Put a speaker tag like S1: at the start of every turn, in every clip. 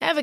S1: Ever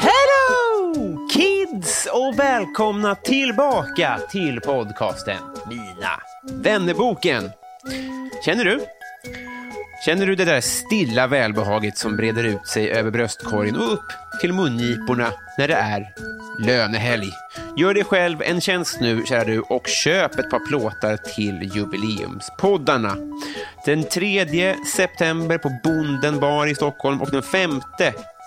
S2: Hello kids och välkomna tillbaka till podcasten Mina vännerboken. Känner du? Känner du det där stilla välbehaget som breder ut sig över bröstkorgen och upp till mungiporna när det är lönehelg? Gör dig själv en tjänst nu, kära du, och köp ett par plåtar till jubileumspoddarna. Den 3 september på Bonden bar i Stockholm och den 5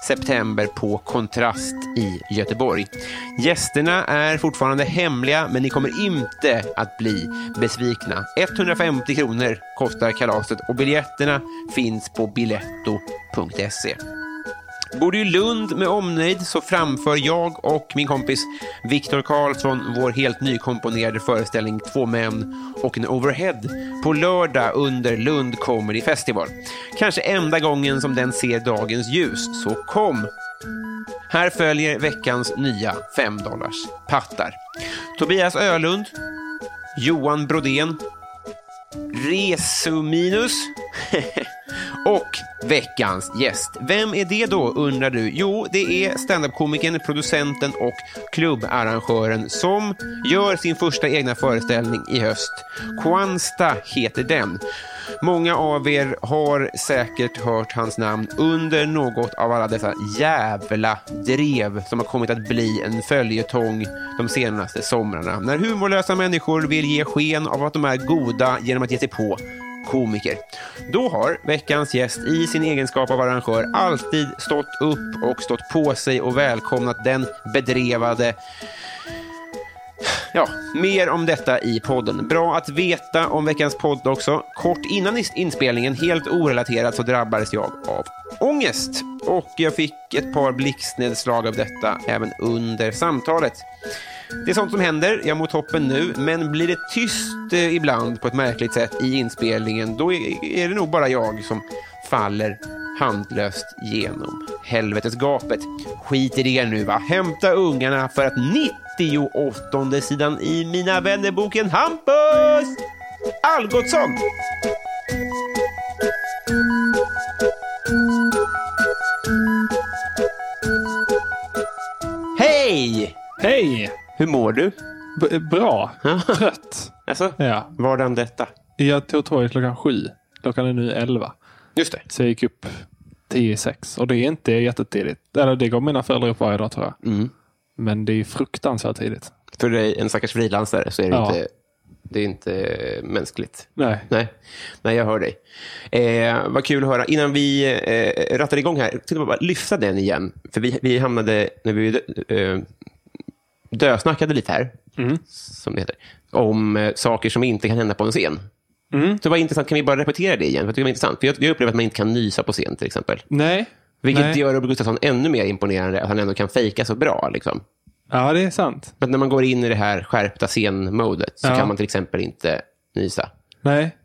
S2: september på Kontrast i Göteborg. Gästerna är fortfarande hemliga, men ni kommer inte att bli besvikna. 150 kronor kostar kalaset och biljetterna finns på biletto.se. Bor du i Lund med omnejd så framför jag och min kompis Viktor Karlsson vår helt nykomponerade föreställning Två män och en overhead på lördag under Lund Comedy Festival. Kanske enda gången som den ser dagens ljus, så kom! Här följer veckans nya 5 dollars pattar. Tobias Ölund, Johan Brodén, Resuminus och veckans gäst. Vem är det då, undrar du? Jo, det är standup-komikern, producenten och klubbarrangören som gör sin första egna föreställning i höst. Kwansta heter den. Många av er har säkert hört hans namn under något av alla dessa jävla drev som har kommit att bli en följetong de senaste somrarna. När humorlösa människor vill ge sken av att de är goda genom att ge sig på komiker. Då har veckans gäst i sin egenskap av arrangör alltid stått upp och stått på sig och välkomnat den bedrevade Ja, mer om detta i podden. Bra att veta om veckans podd också. Kort innan is- inspelningen, helt orelaterat, så drabbades jag av ångest. Och jag fick ett par blixtnedslag av detta även under samtalet. Det är sånt som händer, jag mår toppen nu, men blir det tyst eh, ibland på ett märkligt sätt i inspelningen, då är är det nog bara jag som faller handlöst genom helvetesgapet. Skit i det nu va. Hämta ungarna för att 98 sidan i Mina vännerboken Hampus Algotsson. Hej!
S3: Hej!
S2: Hur mår du?
S3: B- bra. Trött.
S2: Alltså,
S3: Ja.
S2: vardagen detta.
S3: Jag tog tåget klockan sju. Klockan är nu elva.
S2: Just det.
S3: Så jag gick upp tio i sex. Och det är inte jättetidigt. Eller det går mina föräldrar upp varje dag tror jag. Men det är fruktansvärt tidigt.
S2: För dig, en stackars frilansare, så är det,
S3: Ja.
S2: inte, det är inte eh, mänskligt.
S3: Nej.
S2: Nej, nej jag hör dig. Eh, vad kul att höra. Innan vi eh, rattar igång här, jag tänkte bara lyfta den igen. För vi, vi hamnade, när vi eh, dösnackade lite här, som det heter, om eh, saker som inte kan hända på en scen. Så det var intressant, kan vi bara repetera det igen? För jag tycker det var intressant. För jag, jag upplever att man inte kan nysa på scen till exempel.
S3: Nej.
S2: Vilket
S3: Nej.
S2: gör Robert Gustafsson ännu mer imponerande, att han ändå kan fejka så bra. Liksom.
S3: Ja, det är sant.
S2: Men när man går in i det här skärpta scenmodet så
S3: Ja.
S2: kan man till exempel inte nysa.
S3: Nej.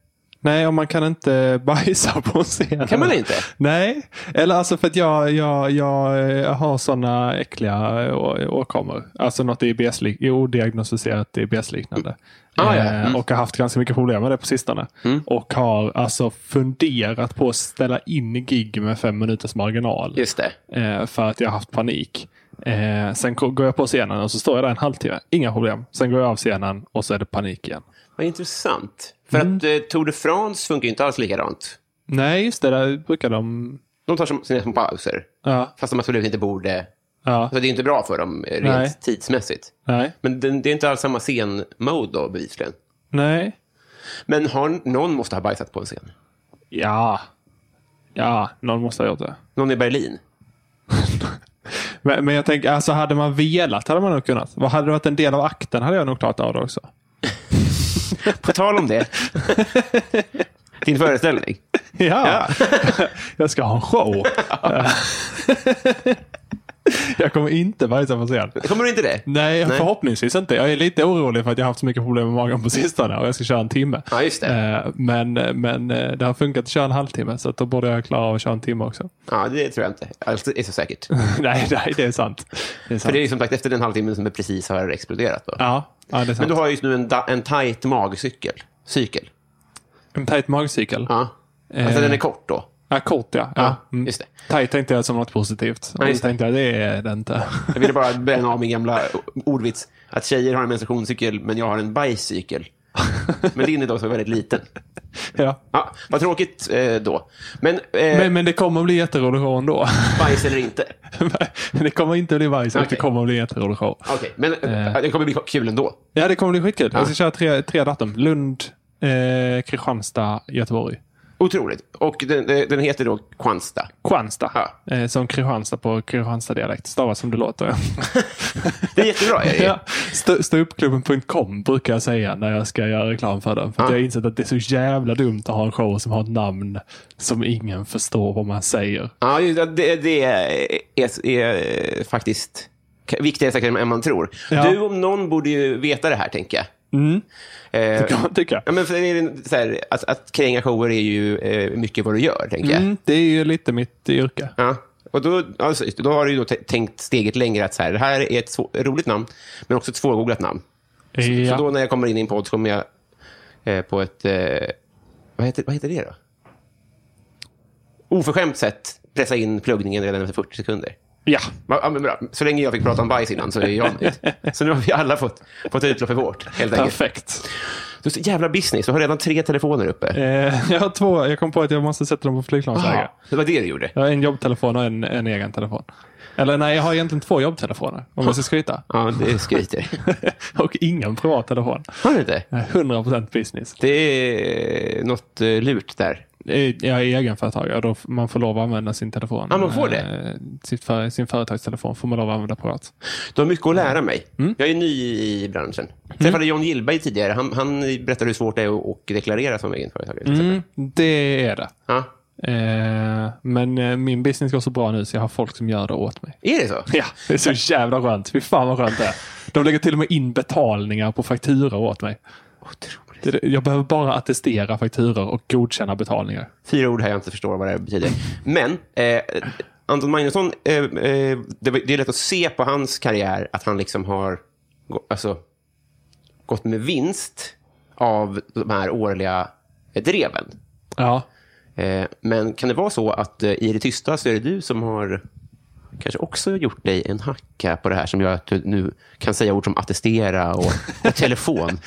S3: Nej, och man kan inte bajsa på en scen.
S2: Kan man inte?
S3: Nej. Eller alltså för att jag, jag, jag eh, har sådana äckliga eh, å- åkommor. Alltså något IBS-lik- odiagnostiserat IBS-liknande.
S2: Ah, ja. Mm.
S3: Eh, Och har haft ganska mycket problem med det på sistone. Och har alltså funderat på att ställa in gig med fem minuters marginal.
S2: Just det.
S3: Eh, för att jag har haft panik. Eh, sen ko- går jag på scenen och så står jag där en halvtimme. Inga problem. Sen går jag av scenen och så är det panik igen.
S2: Vad intressant. För att eh, Tour de France funkar ju inte alls likadant.
S3: Nej, just det. Där brukar de...
S2: De tar som- sina små pauser.
S3: Ja,
S2: Fast de absolut inte borde.
S3: ja,
S2: Alltså, det är inte bra för dem eh, rent
S3: Nej.
S2: tidsmässigt.
S3: nej,
S2: Men det, det är inte alls samma scenmode då, bevisligen.
S3: nej.
S2: Men har, någon måste ha bajsat på en scen.
S3: Ja. Ja, någon måste ha gjort det.
S2: Någon i Berlin.
S3: Men, men jag tänker, alltså hade man velat hade man nog kunnat. Vad hade det varit en del av akten hade jag nog klarat av det också.
S2: På tal om det. Din föreställning.
S3: Ja. jag ska ha en show. jag kommer inte bajsa på scen.
S2: Kommer du inte det?
S3: Nej,
S2: Nej.
S3: förhoppningsvis inte. Jag är lite orolig för att jag har haft så mycket problem med magen på sistone och jag ska köra en timme.
S2: Ja, just det.
S3: Eh, Men, men eh, det har funkat att köra en halvtimme så att då borde jag klara av att köra en timme också.
S2: Ja, det tror jag inte. Allt är så säkert.
S3: nej, nej, det är sant. Det är
S2: För
S3: sant.
S2: det är ju som sagt efter den halvtimmen som det precis har exploderat. Då.
S3: Ja, ja, det är sant.
S2: Men du har just nu en, da- en tajt magcykel. Cykel.
S3: En tajt magcykel.
S2: Ja. Alltså
S3: Eh.
S2: den är kort då.
S3: Ja, kort ja.
S2: Ja,
S3: ja. Mm.
S2: just det.
S3: Tajt tänkte jag som något positivt. Och
S2: Ja,
S3: så
S2: just det.
S3: tänkte jag, det är det inte.
S2: Jag ville bara bränna av min gamla ordvits. Att tjejer har en menstruationscykel, men jag har en bajscykel. Men din är då så väldigt liten.
S3: ja.
S2: Ja, vad tråkigt eh, då. Men, eh,
S3: men, men det kommer att bli jätterolig show ändå.
S2: bajs eller inte?
S3: det kommer inte att bli bajs, okay. det
S2: Okej.
S3: kommer att bli jätterolig show.
S2: Okej, men eh. det kommer bli kul ändå.
S3: Ja, det kommer att bli skitkul. Jag ska köra tre, tre datum. Lund, eh, Kristianstad, Göteborg.
S2: Otroligt. Och den, eh, den heter då Kwansta.
S3: Kristianstad.
S2: Ja.
S3: Eh, som Kristianstad på Kristianstad-dialekt. Stavas som det låter.
S2: Det är jättebra. Erik.
S3: ja. Stå- Ståuppklubben.com brukar jag säga när jag ska göra reklam för den. För att
S2: Ja.
S3: jag har insett att det är så jävla dumt att ha en show som har ett namn som ingen förstår vad man säger.
S2: Ja, ju- det, det är, är, är eh, faktiskt k- viktigare säkert än man tror.
S3: Ja.
S2: Du om någon borde ju veta det här, tänker jag. Eh,
S3: Kan man tycka.
S2: ja, men för det är en- så här, att, att kränga shower är ju eh, mycket vad du gör, tänker jag.
S3: Mm, det är ju lite mitt yrke.
S2: Ja. Och då, alltså, just det, då har du ju då t- tänkt steget längre att så här, det här är ett svå- roligt namn, men också ett svårgooglat namn.
S3: Ja.
S2: Så då när jag kommer in i en podd så kommer jag eh, på ett... Eh, vad, heter, vad heter det då? Oförskämt sätt pressa in pluggningen redan efter 40 sekunder.
S3: ja.
S2: Ja, ja, men bra. Så länge jag fick prata om bajs innan så är jag nöjd. Så nu har vi alla fått, fått utlopp för vårt, helt enkelt.
S3: Perfekt.
S2: Du är så jävla business. Du har redan tre telefoner uppe.
S3: Eh, jag har två. Jag kom på att jag måste sätta dem på flygplansläge.
S2: Aha, det var det du gjorde.
S3: Jag har en jobbtelefon och en, en egen telefon. Eller nej, jag har egentligen två jobbtelefoner om jag ska skryta.
S2: Ja, det skryter.
S3: och ingen privat telefon.
S2: Har du inte?
S3: Jag är 100% business.
S2: Det är eh, något eh, lurt där.
S3: Eh, Jag är egenföretagare och då f- man får lov att använda sin telefon.
S2: Ja, man får det.
S3: Eh, Sitt för, sin företagstelefon får man lov att använda privat.
S2: Du har mycket att lära mig. Jag är ny i branschen. Jag träffade John Gillberg tidigare. Han, han berättade hur svårt det är att att deklarera som egenföretagare. till exempel.
S3: Det är det.
S2: Ja.
S3: Eh, Men eh, min business går så bra nu så jag har folk som gör det åt mig.
S2: Är det så?
S3: Ja, det är så jävla skönt. Fy fan vad skönt det är. De lägger till och med in betalningar på fakturor åt mig.
S2: Otroligt.
S3: Det är det- Jag behöver bara attestera fakturor och godkänna betalningar.
S2: Fyra ord här jag inte förstår vad det här betyder. Men eh, Anton Magnusson, eh, eh, det, var- det är lätt att se på hans karriär att han liksom har gå- alltså, gått med vinst av de här årliga eh, dreven.
S3: Ja,
S2: Eh, men kan det vara så att eh, i det tysta så är det du som har kanske också gjort dig en hacka på det här som gör att du nu kan säga ord som attestera och, och telefon?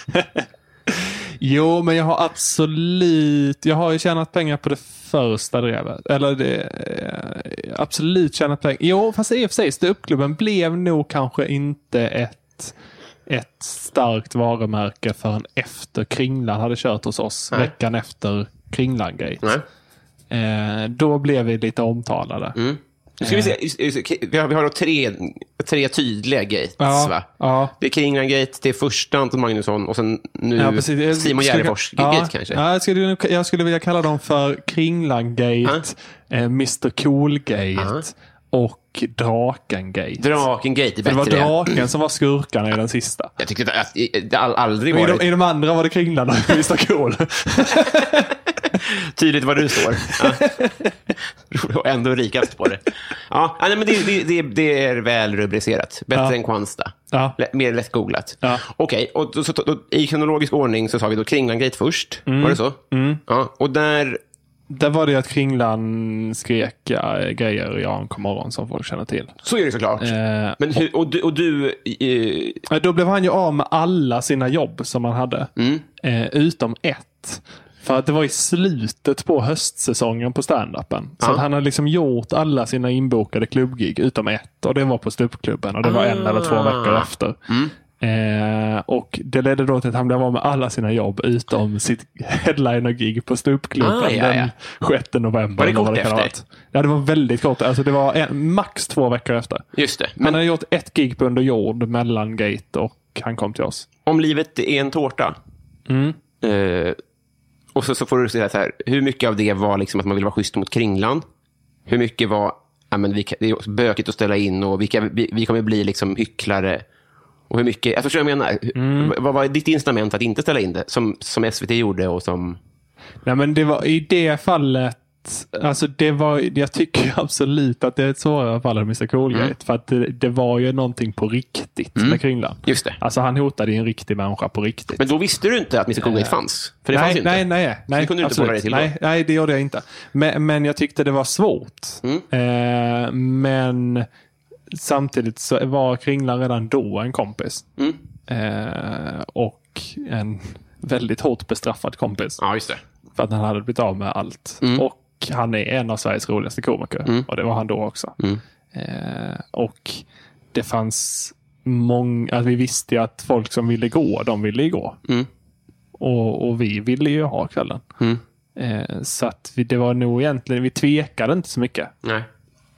S3: Jo, men jag har absolut... Jag har ju tjänat pengar på det första drevet. Eller det, eh, absolut tjänat pengar. Jo, fast i och för sig, ståuppklubben blev nog kanske inte ett, ett starkt varumärke förrän efter Kringlan hade kört hos oss.
S2: Nej.
S3: Veckan efter Kringlan-gate.
S2: Nej.
S3: Eh, då blev vi lite omtalade.
S2: Nu ska vi se. Just- just- okej, Vi har, vi har då tre, tre tydliga gates,
S3: Ja,
S2: va?
S3: ja.
S2: Det är Kringland Gate, det är första Anton Magnusson och sen nu
S3: Ja, precis. Jag
S2: Simon
S3: skulle-
S2: Gärdenfors
S3: ja,
S2: Gate kanske.
S3: Ja, jag, skulle, nog- jag skulle vilja kalla dem för Kringlan-gate, eh, Mr Cool-gate och Draken-gate.
S2: Draken Gate är
S3: det var
S2: bättre. än-
S3: draken som var skurkarna i den sista.
S2: Jag tyckte att, att, att det all, aldrig
S3: I
S2: var
S3: de, I de andra var det Kringlan och Mr Cool.
S2: tydligt var du står. Ja. och ändå rikast på det. Ja, ja, nej, men det, det, det, det är väl rubricerat. Bättre
S3: Ja.
S2: än Kwanstad.
S3: Ja.
S2: Lä- Mer lättgooglat.
S3: Ja.
S2: Okej, och då, så, då, i kronologisk ordning så sa vi då Kringland Gate först.
S3: Mm.
S2: Var det så? Ja, och där...
S3: Där var det ju att Kringlan skrek ja, grejer i Ank morgon som folk känner till.
S2: Så är det såklart.
S3: Eh,
S2: Men hur, och du, och du eh, Mm.
S3: Ja, Då blev han ju av med alla sina jobb som han hade. Eh, utom ett. För att det var i slutet på höstsäsongen på standupen. Så
S2: Ja.
S3: att han hade liksom gjort alla sina inbokade klubbgig utom ett. Och det var på ståuppklubben och det var en eller
S2: Ah.
S3: två veckor efter.
S2: Mm.
S3: Eh, och Det ledde då till att han blev av med alla sina jobb utom sitt headliner-gig på ståuppklubben
S2: Ah, ja, ja.
S3: den 6 november.
S2: Var det
S3: eller vad
S2: kort
S3: kan ha
S2: efter?
S3: varit. Ja, det var väldigt kort. Alltså, det var en, max två veckor efter.
S2: Just det.
S3: Han
S2: Men
S3: hade gjort ett gig på Under jord mellan Gate och han kom till oss.
S2: om livet är en tårta.
S3: Mm.
S2: Eh, och så, så får du säga så här, hur mycket av det var liksom att man vill vara schysst mot kringlan? Hur mycket var, ja, men vi, kan- det är bökigt att ställa in och vilka, vi, vi kommer bli liksom hycklare? Och hur mycket, jag förstår vad jag menar.
S3: Mm.
S2: Hur- Vad var ditt incitament att inte ställa in det? Som, som SVT gjorde och som...
S3: Nej, men det var i det fallet. Alltså det var, jag tycker absolut att det är ett svårare fall än Mr Coolgate. För att det, det var ju någonting på riktigt med Kringland.
S2: Just det.
S3: Alltså han hotade ju en riktig människa på riktigt.
S2: Men då visste du inte att Mr Coolgate fanns. För det
S3: nej,
S2: fanns ju inte.
S3: nej, nej, nej.
S2: det kunde du inte
S3: absolut.
S2: borra dig till då?
S3: nej, nej, det gjorde jag inte. Men, men jag tyckte det var svårt.
S2: Mm.
S3: Eh, men samtidigt så var Kringlan redan då en kompis.
S2: Mm.
S3: Eh, och en väldigt hårt bestraffad kompis.
S2: Ja, just det.
S3: För att han hade blivit av med allt. Och han är en av Sveriges roligaste komiker. Och det var han då också. Eh, och det fanns många... Alltså vi visste ju att folk som ville gå, de ville ju gå. Och, och vi ville ju ha kvällen. Eh, så att vi, det var nog egentligen... Vi tvekade inte så mycket.
S2: Nej.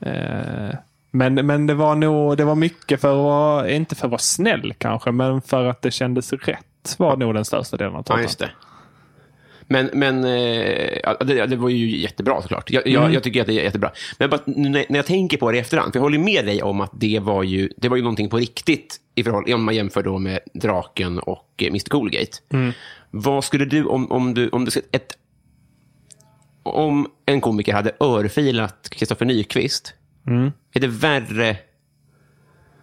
S3: Eh, men, men det var nog det var mycket för att vara, inte för att vara snäll kanske, men för att det kändes rätt var nog den största delen av
S2: Ja,
S3: tårtan.
S2: just det. Men, men eh, ja, det, det var ju jättebra såklart. Jag,
S3: Mm.
S2: jag, jag tycker att det är jättebra. Men bara, nu när när jag tänker på det i efterhand, för jag håller med dig om att det var ju, det var ju någonting på riktigt i förhållande, om man jämför då med Draken och eh, Mr Coolgate.
S3: Mm.
S2: Vad skulle du, om, om du, om du skulle- ett, om en komiker hade örfilat Kristoffer Nyqvist, är det värre?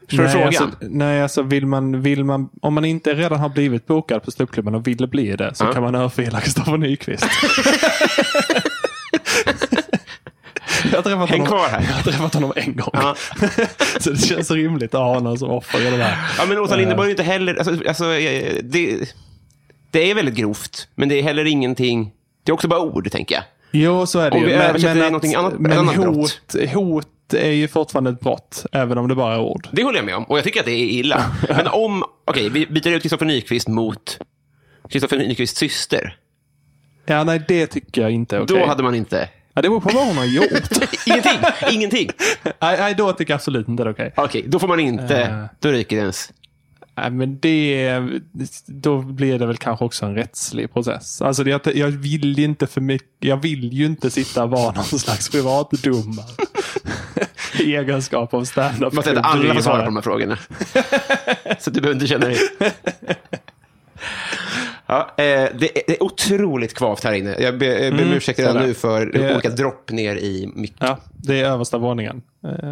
S2: Förstår du
S3: Mm. nej,
S2: frågan?
S3: Alltså, nej, alltså vill man, vill man, om man inte redan har blivit bokad på ståuppklubben och vill bli det så
S2: Ja.
S3: kan man örfila Kristoffer Nyqvist. jag, har träffat
S2: Häng
S3: honom,
S2: kvar här.
S3: jag har träffat honom en gång.
S2: Ja.
S3: så det känns rimligt att ha honom som offer. i det där.
S2: Ja, men Åsa
S3: Eh.
S2: Linderborg är inte heller... Alltså, alltså, eh, det, det är väldigt grovt, men det är heller ingenting... Det är också bara ord, tänker jag.
S3: Jo, så är det
S2: Om vi
S3: ju. Men,
S2: översätter
S3: men,
S2: det
S3: att-
S2: någonting annat- ett
S3: men
S2: annat brott.
S3: hot, hot är ju fortfarande ett brott, även om det bara är ord.
S2: Det håller jag med om, och jag tycker att det är illa. Men om... Okej, vi byter ut Kristoffer Nyqvist mot Kristoffer Nyqvists syster.
S3: Ja, nej, det tycker jag inte är okej.
S2: Då hade man inte...
S3: ja, det beror på vad hon har gjort.
S2: Ingenting! ingenting!
S3: nej, nej, då tycker jag absolut inte det är okej.
S2: Okej, då får man inte...
S3: Eh.
S2: Då ryker det ens.
S3: Nej, men det, då blir det väl kanske också en rättslig process. Alltså det, jag, jag, vill ju inte för mycket, jag vill ju inte sitta och vara någon slags privatdomare. I egenskap av standup.
S2: Man säger att alla får svara på de här frågorna. Så du behöver inte känna dig... Ja, eh, det, är, det är otroligt kvavt här inne. Jag ber, jag ber om ursäkt redan
S3: sådär.
S2: nu för
S3: Det-
S2: olika dropp ner i micken.
S3: Ja, det är översta våningen. Eh,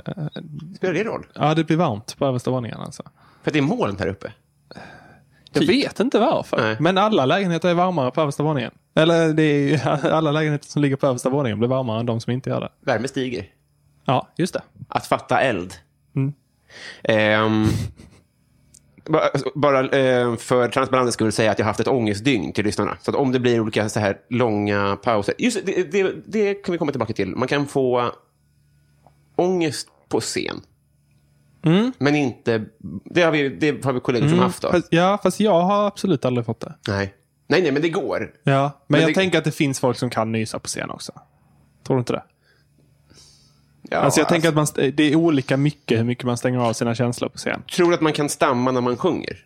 S2: Spelar det roll?
S3: Ja, det blir varmt på översta våningen alltså.
S2: För att det är moln här uppe.
S3: Jag vet inte varför.
S2: Typ. Nej.
S3: Men alla lägenheter är varmare på översta våningen. Eller det är ju, alla lägenheter som ligger på översta våningen blir varmare än de som inte gör det.
S2: Värme stiger.
S3: Ja, just det.
S2: Att fatta eld.
S3: Mm.
S2: Ehm, ba- bara eh, för transparensens skull säga att jag har haft ett ångestdygn till lyssnarna. Så att om det blir olika så här långa pauser. Just det, det, det kan vi komma tillbaka till. Man kan få ångest på scen. Men inte... Det har vi, det har vi kollegor som haft. Då.
S3: Mm. Fast, ja, fast jag har absolut aldrig fått det.
S2: Nej. nej, nej, men det går.
S3: Ja, men,
S2: Men
S3: jag
S2: det-
S3: tänker att det finns folk som kan nysa på scen också. Tror du inte det?
S2: Ja,
S3: alltså jag tänker att man, st- det är olika mycket hur mycket man stänger av sina känslor på scen.
S2: Tror du att man kan stamma när man sjunger?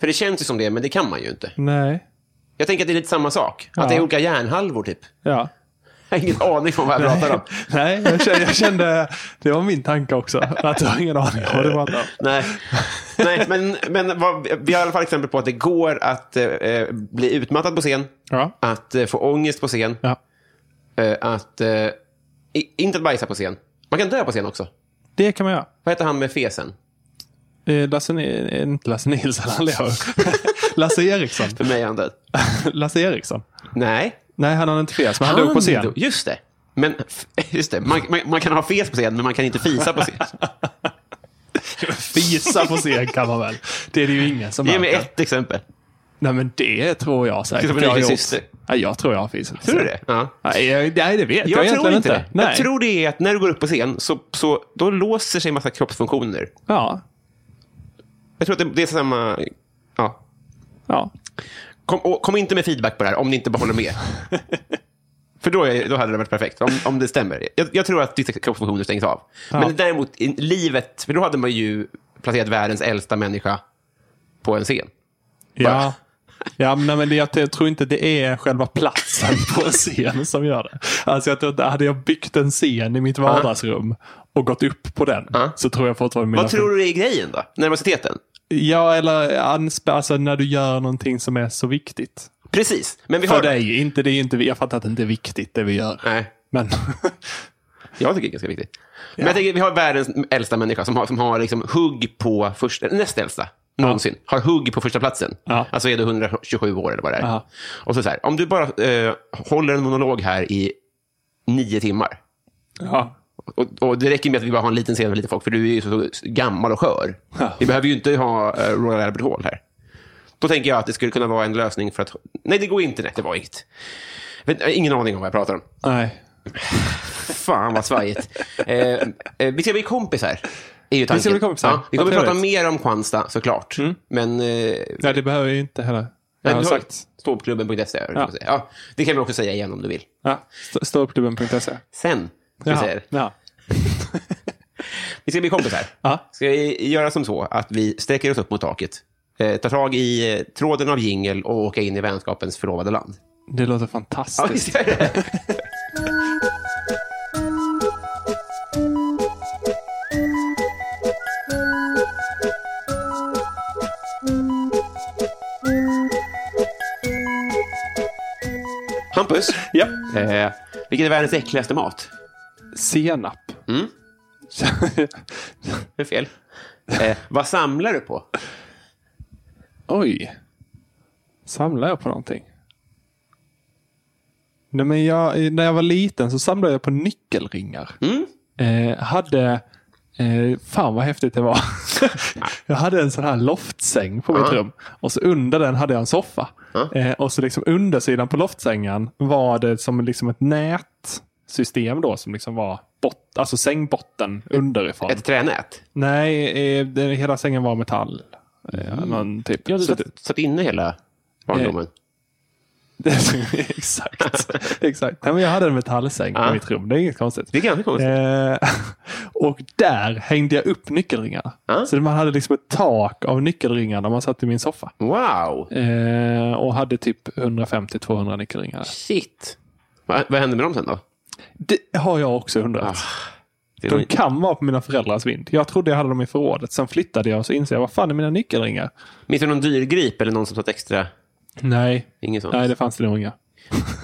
S2: För det känns ju som det, men det kan man ju inte.
S3: Nej.
S2: Jag tänker att det är lite samma sak. Att det är olika hjärnhalvor, typ.
S3: Ja.
S2: Jag har ingen aning om vad jag pratar om.
S3: Nej, jag kände, jag kände... Det var min tanke också. Att jag har ingen aning om vad du pratar om.
S2: Nej, Nej men, men vad, vi har i alla fall exempel på att det går att eh, bli utmattad på scen,
S3: Ja.
S2: att eh, få ångest på scen,
S3: ja.
S2: eh, att eh, i- inte att bajsa på scen. Man kan dö på scen också.
S3: Det kan man göra.
S2: Vad heter han med fesen?
S3: Eh, Lasse, Ni- eh, inte Lasse Nilsson, han lever. Lasse Eriksson.
S2: För mig är han död.
S3: Lasse Eriksson.
S2: Nej.
S3: Nej, han har inte fes, men han, dog på scen.
S2: dog- Just det. Men, just det. Man, man, man kan ha fes på scen, men man kan inte fisa på scen.
S3: Fisa på scen kan man väl? Det är det ju ingen som
S2: Ge mig
S3: märker.
S2: ett exempel.
S3: Nej, men det tror jag säkert.
S2: Ska du
S3: jag,
S2: bli
S3: har gjort.
S2: syster?
S3: Nej, jag tror jag har fisat.
S2: Tror du det? Ja.
S3: Nej, jag, nej, det vet jag,
S2: Jag, tror
S3: egentligen
S2: inte det.
S3: Nej.
S2: Jag tror det är att när du går upp på scen så, så då låser sig en massa kroppsfunktioner.
S3: Ja.
S2: Jag tror att det, det är samma... Ja.
S3: ja.
S2: Kom, och, kom inte med feedback på det här om ni inte bara håller med. För då, är, då hade det varit perfekt, om, om det stämmer. Jag, jag tror att vissa kroppsfunktioner stängs av. Men däremot i livet, för då hade man ju placerat världens äldsta människa på en scen.
S3: Ja. Ja, men, nej, men det, jag tror inte det är själva platsen på en scen som gör det. Alltså, jag tror inte, hade jag byggt en scen i mitt vardagsrum och gått upp på den så tror jag fortfarande mina...
S2: Vad tror du är grejen då? Nervositeten?
S3: Ja, eller ansp- alltså, när du gör någonting som är så viktigt.
S2: Precis. Men vi har...
S3: För dig, inte, det är inte, jag fattar att det inte är viktigt det vi gör.
S2: Nej,
S3: Men
S2: jag tycker det är ganska viktigt. Men jag tänker, vi har världens äldsta människa som har, som har liksom hugg på första, näst äldsta någonsin. Har hugg på första platsen.
S3: Ja.
S2: Alltså är du 127 år eller vad det är.
S3: Ja.
S2: Och så, så här, om du bara eh, håller en monolog här i nio timmar.
S3: ja.
S2: Och, och det räcker med att vi bara har en liten scen för lite folk, för du är ju så, så gammal och skör. Vi behöver ju inte ha eh, Royal Albert Hall här. Då tänker jag att det skulle kunna vara en lösning för att... Nej, det går inte. Nej, det var inget. Jag vet- jag har ingen aning om vad jag pratar om.
S3: Nej.
S2: Fan vad svajigt. eh, eh, vi ska bli kompisar. Är ju tanken.
S3: Vi ska bli kompisar.
S2: Ja, vi
S3: Vad
S2: kommer prata
S3: trevligt.
S2: mer om Kwanzaa såklart. Men... Eh,
S3: Nej, det behöver jag inte heller. Jag har
S2: du har-
S3: sagt.
S2: Ståuppklubben.se. Ja.
S3: Ja.
S2: Ja, det kan vi också säga igen om du vill.
S3: Ja, stå- Ståuppklubben.se.
S2: Sen. Ska vi, säga.
S3: Ja.
S2: det.
S3: E. Ja.
S2: vi ska bli kompisar.
S3: Ja.
S2: Ska vi göra som så att vi sträcker oss upp mot taket, eh, tar tag i eh, tråden av jingel och åker in i vänskapens förlovade land?
S3: Det låter fantastiskt.
S2: gör det. Hampus,
S3: Ja.
S2: eh, vilken är världens äckligaste mat?
S3: Senap.
S2: Det är fel. Eh, vad samlar du på?
S3: Oj. Samlar jag på någonting? Nej, men jag, när jag var liten så samlade jag på nyckelringar. Eh, hade... Eh, fan vad häftigt det var. jag hade en sån här loftsäng på mitt rum. Och så under den hade jag en soffa. Eh, och så liksom undersidan på loftsängen var det som liksom ett nätsystem då som liksom var bot, alltså sängbotten underifrån.
S2: Ett tränät?
S3: Nej, eh, det, hela sängen var metall. Eh, någon typ.
S2: Mm. Ja, du
S3: Så
S2: satt, satt inne hela barndomen.
S3: exakt. exakt. Nej, men jag hade en metallsäng på
S2: Ja.
S3: mitt rum. Det är inget konstigt.
S2: Det är ganska konstigt.
S3: Eh, och där hängde jag upp nyckelringarna.
S2: Ja.
S3: Så man hade liksom ett tak av nyckelringar när man satt i min soffa.
S2: Wow!
S3: Eh, och hade typ 150-200 nyckelringar.
S2: Shit! Va, vad hände med dem sen då?
S3: Det har jag också undrat.
S2: Ah, Det är
S3: De
S2: nog-
S3: kan vara på mina föräldrars vind. Jag trodde jag hade dem i förrådet. Sen flyttade jag och så insåg jag, vad fan är mina nyckelringar?
S2: Minns du någon dyrgrip eller någon som satt extra?
S3: Nej,
S2: Ingen sån.
S3: Nej det fanns det nog inga.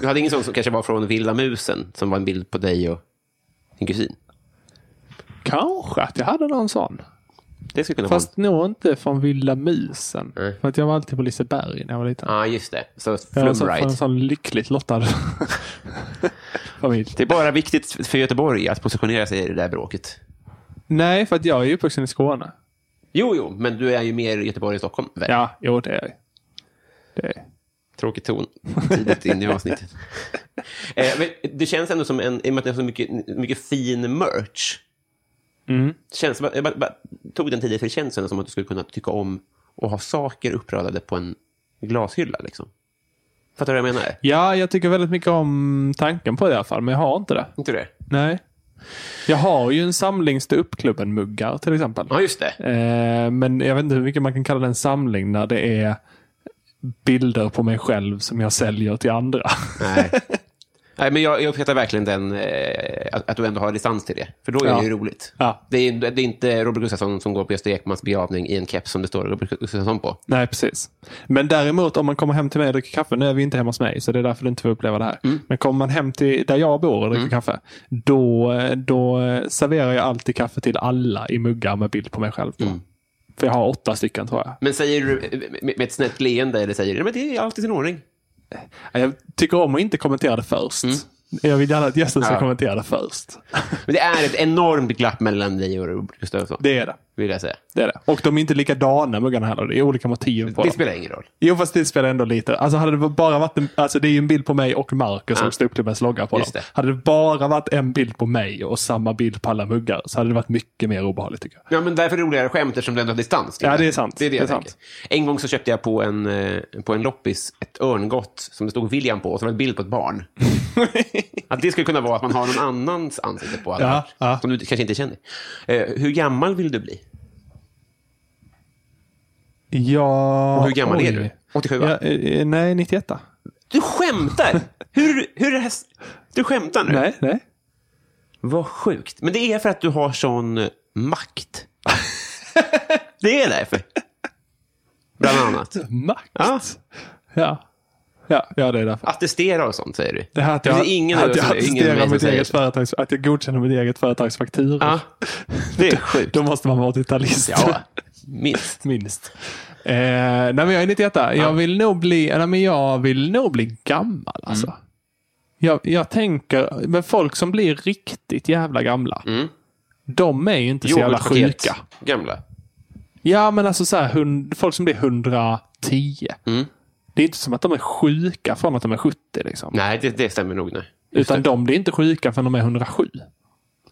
S2: Du hade ingen sån som kanske var från Vilda musen, som var en bild på dig och din kusin?
S3: Kanske att jag hade någon sån.
S2: Det skulle kunna
S3: Fast nog inte från Vilda Musen.
S2: Nej.
S3: För att jag var alltid på Liseberg när jag var liten.
S2: vara... Ja, just det. Så
S3: jag var så-
S2: flumride.
S3: från en sån lyckligt lottad familj.
S2: Det är bara viktigt för Göteborg att positionera sig i det där bråket.
S3: Nej, för att jag är ju uppvuxen i Skåne.
S2: Jo, jo, men du är ju mer i Göteborg än Stockholm. väl?
S3: Ja, jo det är jag. Det är. jag.
S2: Tråkig ton tidigt in i avsnittet. eh, men det känns ändå som en, i och med att det är så mycket, mycket fin merch.
S3: Mm.
S2: Känns, jag bara, bara, tog den tidigt, för det känns ändå som att du skulle kunna tycka om att ha saker uppradade på en glashylla. Liksom. Fattar du vad jag menar?
S3: Ja, jag tycker väldigt mycket om tanken på det i alla fall, men jag har inte det.
S2: Inte det?
S3: Nej. Jag har ju en samling Ståuppklubben-muggar till exempel.
S2: Ja, just det.
S3: Eh, men jag vet inte hur mycket man kan kalla det en samling när det är bilder på mig själv som jag säljer till andra.
S2: Nej. Nej, men jag, jag uppskattar verkligen den, eh, att, att du ändå har distans till det. För då är
S3: Ja.
S2: det ju roligt.
S3: Ja.
S2: Det, är, det är inte Robert Gustafsson som går på Gösta Ekmans begravning i en keps som det står Robert Gustafsson på.
S3: Nej, precis. Men däremot om man kommer hem till mig och dricker kaffe, nu är vi inte hemma hos mig, så det är därför du inte får uppleva det här.
S2: Mm.
S3: Men kommer man hem till där jag bor och dricker kaffe, då, då serverar jag alltid kaffe till alla i muggar med bild på mig själv. på.
S2: Mm.
S3: För jag har åtta stycken tror jag.
S2: Men säger du eh, med- med ett snett leende eller säger du "Nej, men det är allt i sin ordning?
S3: Jag tycker om att inte kommentera det först. Jag vill gärna att gästen ska
S2: Mm. Ja.
S3: kommentera det först.
S2: Men det är ett enormt glapp mellan dig och Robert Gustafsson,
S3: Det är det.
S2: vill jag säga.
S3: Det är det. Och de är inte likadana muggarna heller. Det är olika motiv på
S2: Det
S3: dem.
S2: spelar ingen roll.
S3: Jo, fast det spelar ändå lite. Alltså hade det bara varit en, alltså det är ju en bild på mig och Marcus och ståuppklubbens logga på dem.
S2: Just det.
S3: Hade det bara varit en bild på mig och samma bild på alla muggar så hade det varit mycket mer obehagligt tycker jag.
S2: Ja, men därför är det roligare skämt eftersom du ändå har distans. till
S3: Ja, det är sant.
S2: Det är det, jag
S3: Det är sant.
S2: tänker. En gång så köpte jag på en, eh, på en loppis ett örngott som det stod William på och så var det en bild på ett barn. att det skulle kunna vara att man har någon annans ansikte på alla,
S3: Ja, ja.
S2: som du kanske inte känner. Eh, hur gammal vill du bli?
S3: Ja...
S2: Och hur gammal är du? 87, va?
S3: Ja, eh, nej, 91.
S2: Du skämtar! hur, hur är det här? s- Du skämtar nu?
S3: Nej, nej.
S2: Vad sjukt. Men det är för att du har sån makt. det är därför. Bland annat.
S3: Makt?
S2: Ja.
S3: Ja. Ja, ja, det är därför.
S2: Attestera och sånt, säger du.
S3: Det här att
S2: det
S3: jag,
S2: finns ingen av
S3: att
S2: oss
S3: jag
S2: som- ingen av mig
S3: attesterar
S2: som
S3: mitt
S2: säger
S3: eget
S2: så.
S3: företags, att jag godkänner mitt eget företags fakturor.
S2: Ja, det är sjukt.
S3: Då måste man vara 80-talist.
S2: Ja, minst.
S3: Minst. Eh, nej, men jag är 91. Jag vill nog bli, nej, men jag vill nog bli gammal. Alltså.
S2: Mm.
S3: Jag, jag tänker, men folk som blir riktigt jävla gamla.
S2: Mm.
S3: De är ju inte så jävla
S2: Yoghurtpaket.
S3: sjuka.
S2: Gamla.
S3: Ja, men alltså så här, hund, folk som blir 110.
S2: Mm.
S3: Det är inte som att de är sjuka från att de är 70. Liksom.
S2: Nej, det, det stämmer nog. Nej.
S3: Utan de blir inte sjuka förrän de är 107.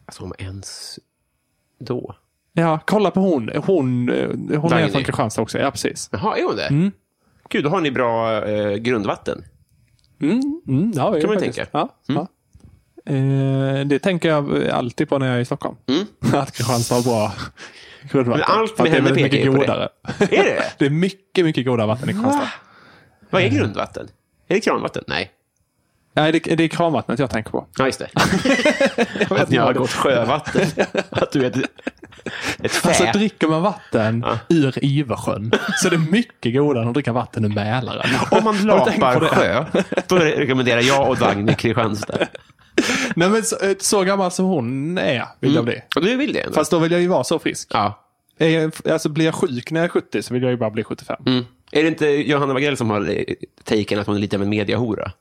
S2: Alltså, om ens då.
S3: Ja, kolla på hon. Hon, eh, hon är
S2: Dagny.
S3: från Kristianstad också. Ja, precis.
S2: Jaha, är hon det? Gud, då har ni bra eh, grundvatten.
S3: Mm, mm, ja,
S2: Kan man ju
S3: faktiskt.
S2: tänka. Mm.
S3: Ja, ja. Eh, det tänker jag alltid på när jag är i Stockholm. Att Kristianstad har bra grundvatten.
S2: Mm. Men allt
S3: För
S2: med
S3: att det är
S2: henne
S3: väldigt mycket
S2: pekar ju på det.
S3: godare.
S2: Är det?
S3: det är mycket, mycket godare vatten i Kristianstad.
S2: Vad är
S3: Mm.
S2: grundvatten? Är det kranvatten? Nej.
S3: Nej, det, det är kranvattnet jag tänker på.
S2: Ja, just det. att ni har gått sjövatten. att du är ett, ett fä.
S3: Alltså dricker man vatten ur Iversjön så är det mycket godare än att dricka vatten ur Mälaren.
S2: Om man
S3: Har du tänkt på
S2: lapar
S3: det?
S2: sjö, då re- rekommenderar jag och Dagny Kristianstad.
S3: Nej, men så, eh, så gammal som hon är vill
S2: Mm.
S3: jag bli.
S2: Och du vill det ändå?
S3: Fast då vill jag ju vara så frisk.
S2: ja.
S3: Är jag, alltså blir jag sjuk när jag är 70 så vill jag ju bara bli 75.
S2: Mm. Är det inte Johanna Wagrell som har eh, taken att hon är lite av en mediahora?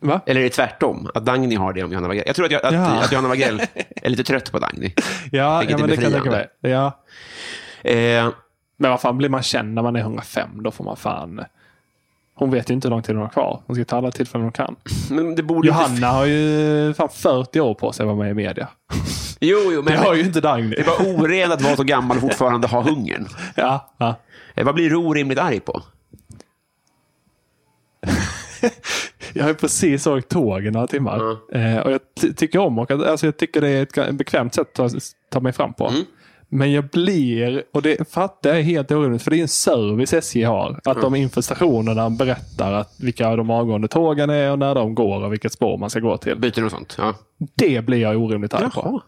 S3: Va?
S2: Eller är det tvärtom? Att Dagny har det om Johanna Wagrell? Jag tror att, jag, att,
S3: Ja.
S2: att Johanna Wagrell är lite trött på Dagny.
S3: Ja,
S2: Vilket
S3: ja
S2: är
S3: men det kan jag tänka mig.
S2: befriande.
S3: Ja.
S2: Eh,
S3: Men vad fan blir man känd när man är 105? Då får man fan... Hon vet ju inte hur lång tid hon har kvar. Hon ska ta alla tillfällen hon kan.
S2: men det borde inte...
S3: Johanna har ju fan 40 år på sig att vara med i media.
S2: Jo, jo,
S3: Det
S2: men
S3: har ju inte Dagny.
S2: det var oren att vara så gammal och fortfarande ha hungern.
S3: Ja, ja.
S2: Eh, vad blir du orimligt arg på?
S3: Jag har ju precis åkt tåg i några timmar. Eh, och jag ty- tycker om att åka. Alltså jag tycker det är ett ga- bekvämt sätt att ta, ta mig fram på.
S2: Mm.
S3: Men jag blir, och det fattar jag är helt orimligt, för det är en service SJ har. Att de inför stationerna berättar att vilka de avgående tågen är och när de går och vilket spår man ska gå till.
S2: Byten och sånt? Ja.
S3: Det blir jag orimligt arg på.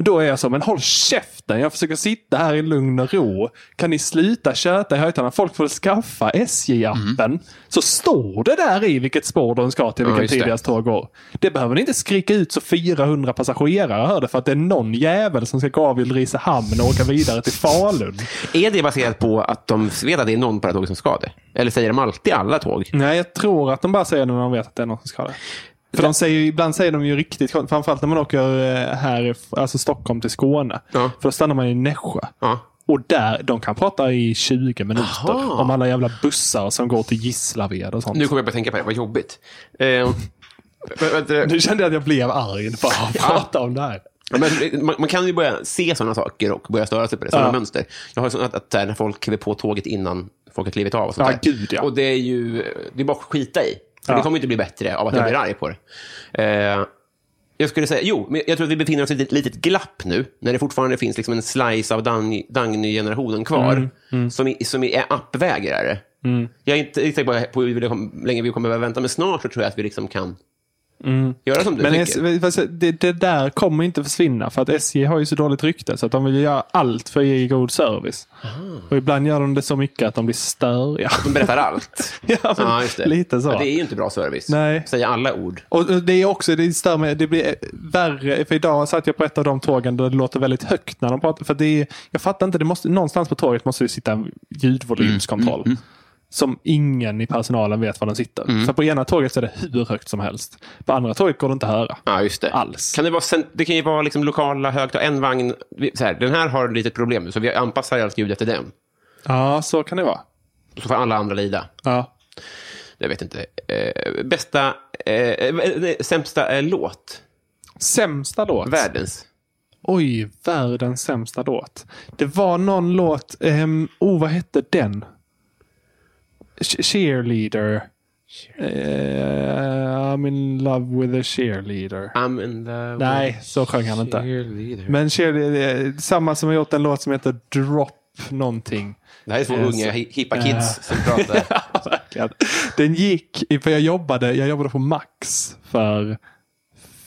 S3: Då är jag så, men håll käften. Jag försöker sitta här i lugn och ro. Kan ni sluta tjöta i högtalarna? Folk får skaffa SJ-appen. Så står det där i vilket spår de ska till, vilken
S2: Mm. just
S3: tid
S2: det.
S3: deras tåg går. Det behöver ni inte skrika ut så 400 passagerare hör det för att det är någon jävel som ska gå av i Ulricehamn och åka vidare till Falun.
S2: Är det baserat på att de vet att det är någon på det här tåget som ska det? Eller säger de alltid alla tåg?
S3: Nej, jag tror att de bara säger det när de vet att det är någon som ska det. För de säger, ju- ibland säger de ju riktigt skönt, framförallt när man åker eh, här, alltså Stockholm till Skåne.
S2: Ja.
S3: För då stannar man i Nässjö.
S2: Ja.
S3: Och där, de kan prata i 20 minuter
S2: Aha.
S3: om alla jävla bussar som går till Gislaved och sånt.
S2: Nu
S3: Nu,
S2: kommer jag bara tänka på det, vad jobbigt. Eh, vä- vä-
S3: kände jag att jag blev arg bara av att prata om det här.
S2: Ja, Men man, man kan ju börja se sådana saker och börja störa sig på det, sådana
S3: Ja.
S2: mönster. Jag har ju sånt att, att så här, när folk kliver på tåget innan folk har klivit av. Och, sånt
S3: Ja,
S2: där.
S3: gud, ja.
S2: och det är ju det är bara att skita i. För
S3: Ja.
S2: Det kommer ju inte bli bättre av att jag
S3: Nej.
S2: blir arg på det. Eh, jag skulle säga, jo, men jag tror att vi befinner oss i ett litet glapp nu, när det fortfarande finns liksom en slice av Dagny- Dagny-generationen kvar,
S3: Mm,
S2: som är, som är appvägrare. Jag är inte riktigt säker på hur vi- hur länge vi kommer behöva vänta, men snart så tror jag att vi liksom kan göra som du
S3: Mm. Men
S2: tycker.
S3: S- fast det, det där kommer inte försvinna för att SJ har ju så dåligt rykte så att de vill ju göra allt för att ge god service. Och ibland gör de det så mycket att de blir störiga.
S2: De berättar allt.
S3: Ja, men lite så.
S2: Ja, det är ju inte bra service.
S3: Nej.
S2: Säga alla ord.
S3: Och och det är också, det stör mig, det blir eh, värre. För idag satt jag på ett av de tågen där det låter väldigt högt Mm, när de pratar. För det är, jag fattar inte, det måste, någonstans på tåget måste det sitta en ljudvolymskontroll. som ingen i personalen vet var den sitter. För på ena tåget så är det hur högt som helst. På andra tåget går det inte att höra.
S2: Ja, just det.
S3: Alls.
S2: Kan det, vara, cent- det kan ju vara liksom lokala högtalare. En vagn, vi- så här, den här har ett litet problem nu, så vi anpassar allt ljud efter den.
S3: Ja, så kan det vara.
S2: Så får alla andra lida.
S3: Ja.
S2: Jag vet inte. Eh, bästa, eh, eh, nej, sämsta eh, låt?
S3: Sämsta låt.
S2: Världens?
S3: Oj, världens sämsta låt. Det var någon låt, ehm, oh vad hette den? Ch- cheerleader. Eh, I'm in love with a cheerleader.
S2: I'm in the...
S3: Nej, så sjöng han inte.
S2: Cheerleader.
S3: Men cheerleader, eh, samma som har gjort en låt som heter Drop någonting.
S2: Det här är två
S3: Eh,
S2: unga
S3: så-
S2: hi- hippa kids som pratar.
S3: Verkligen. Den gick, för jag jobbade, jag jobbade på Max för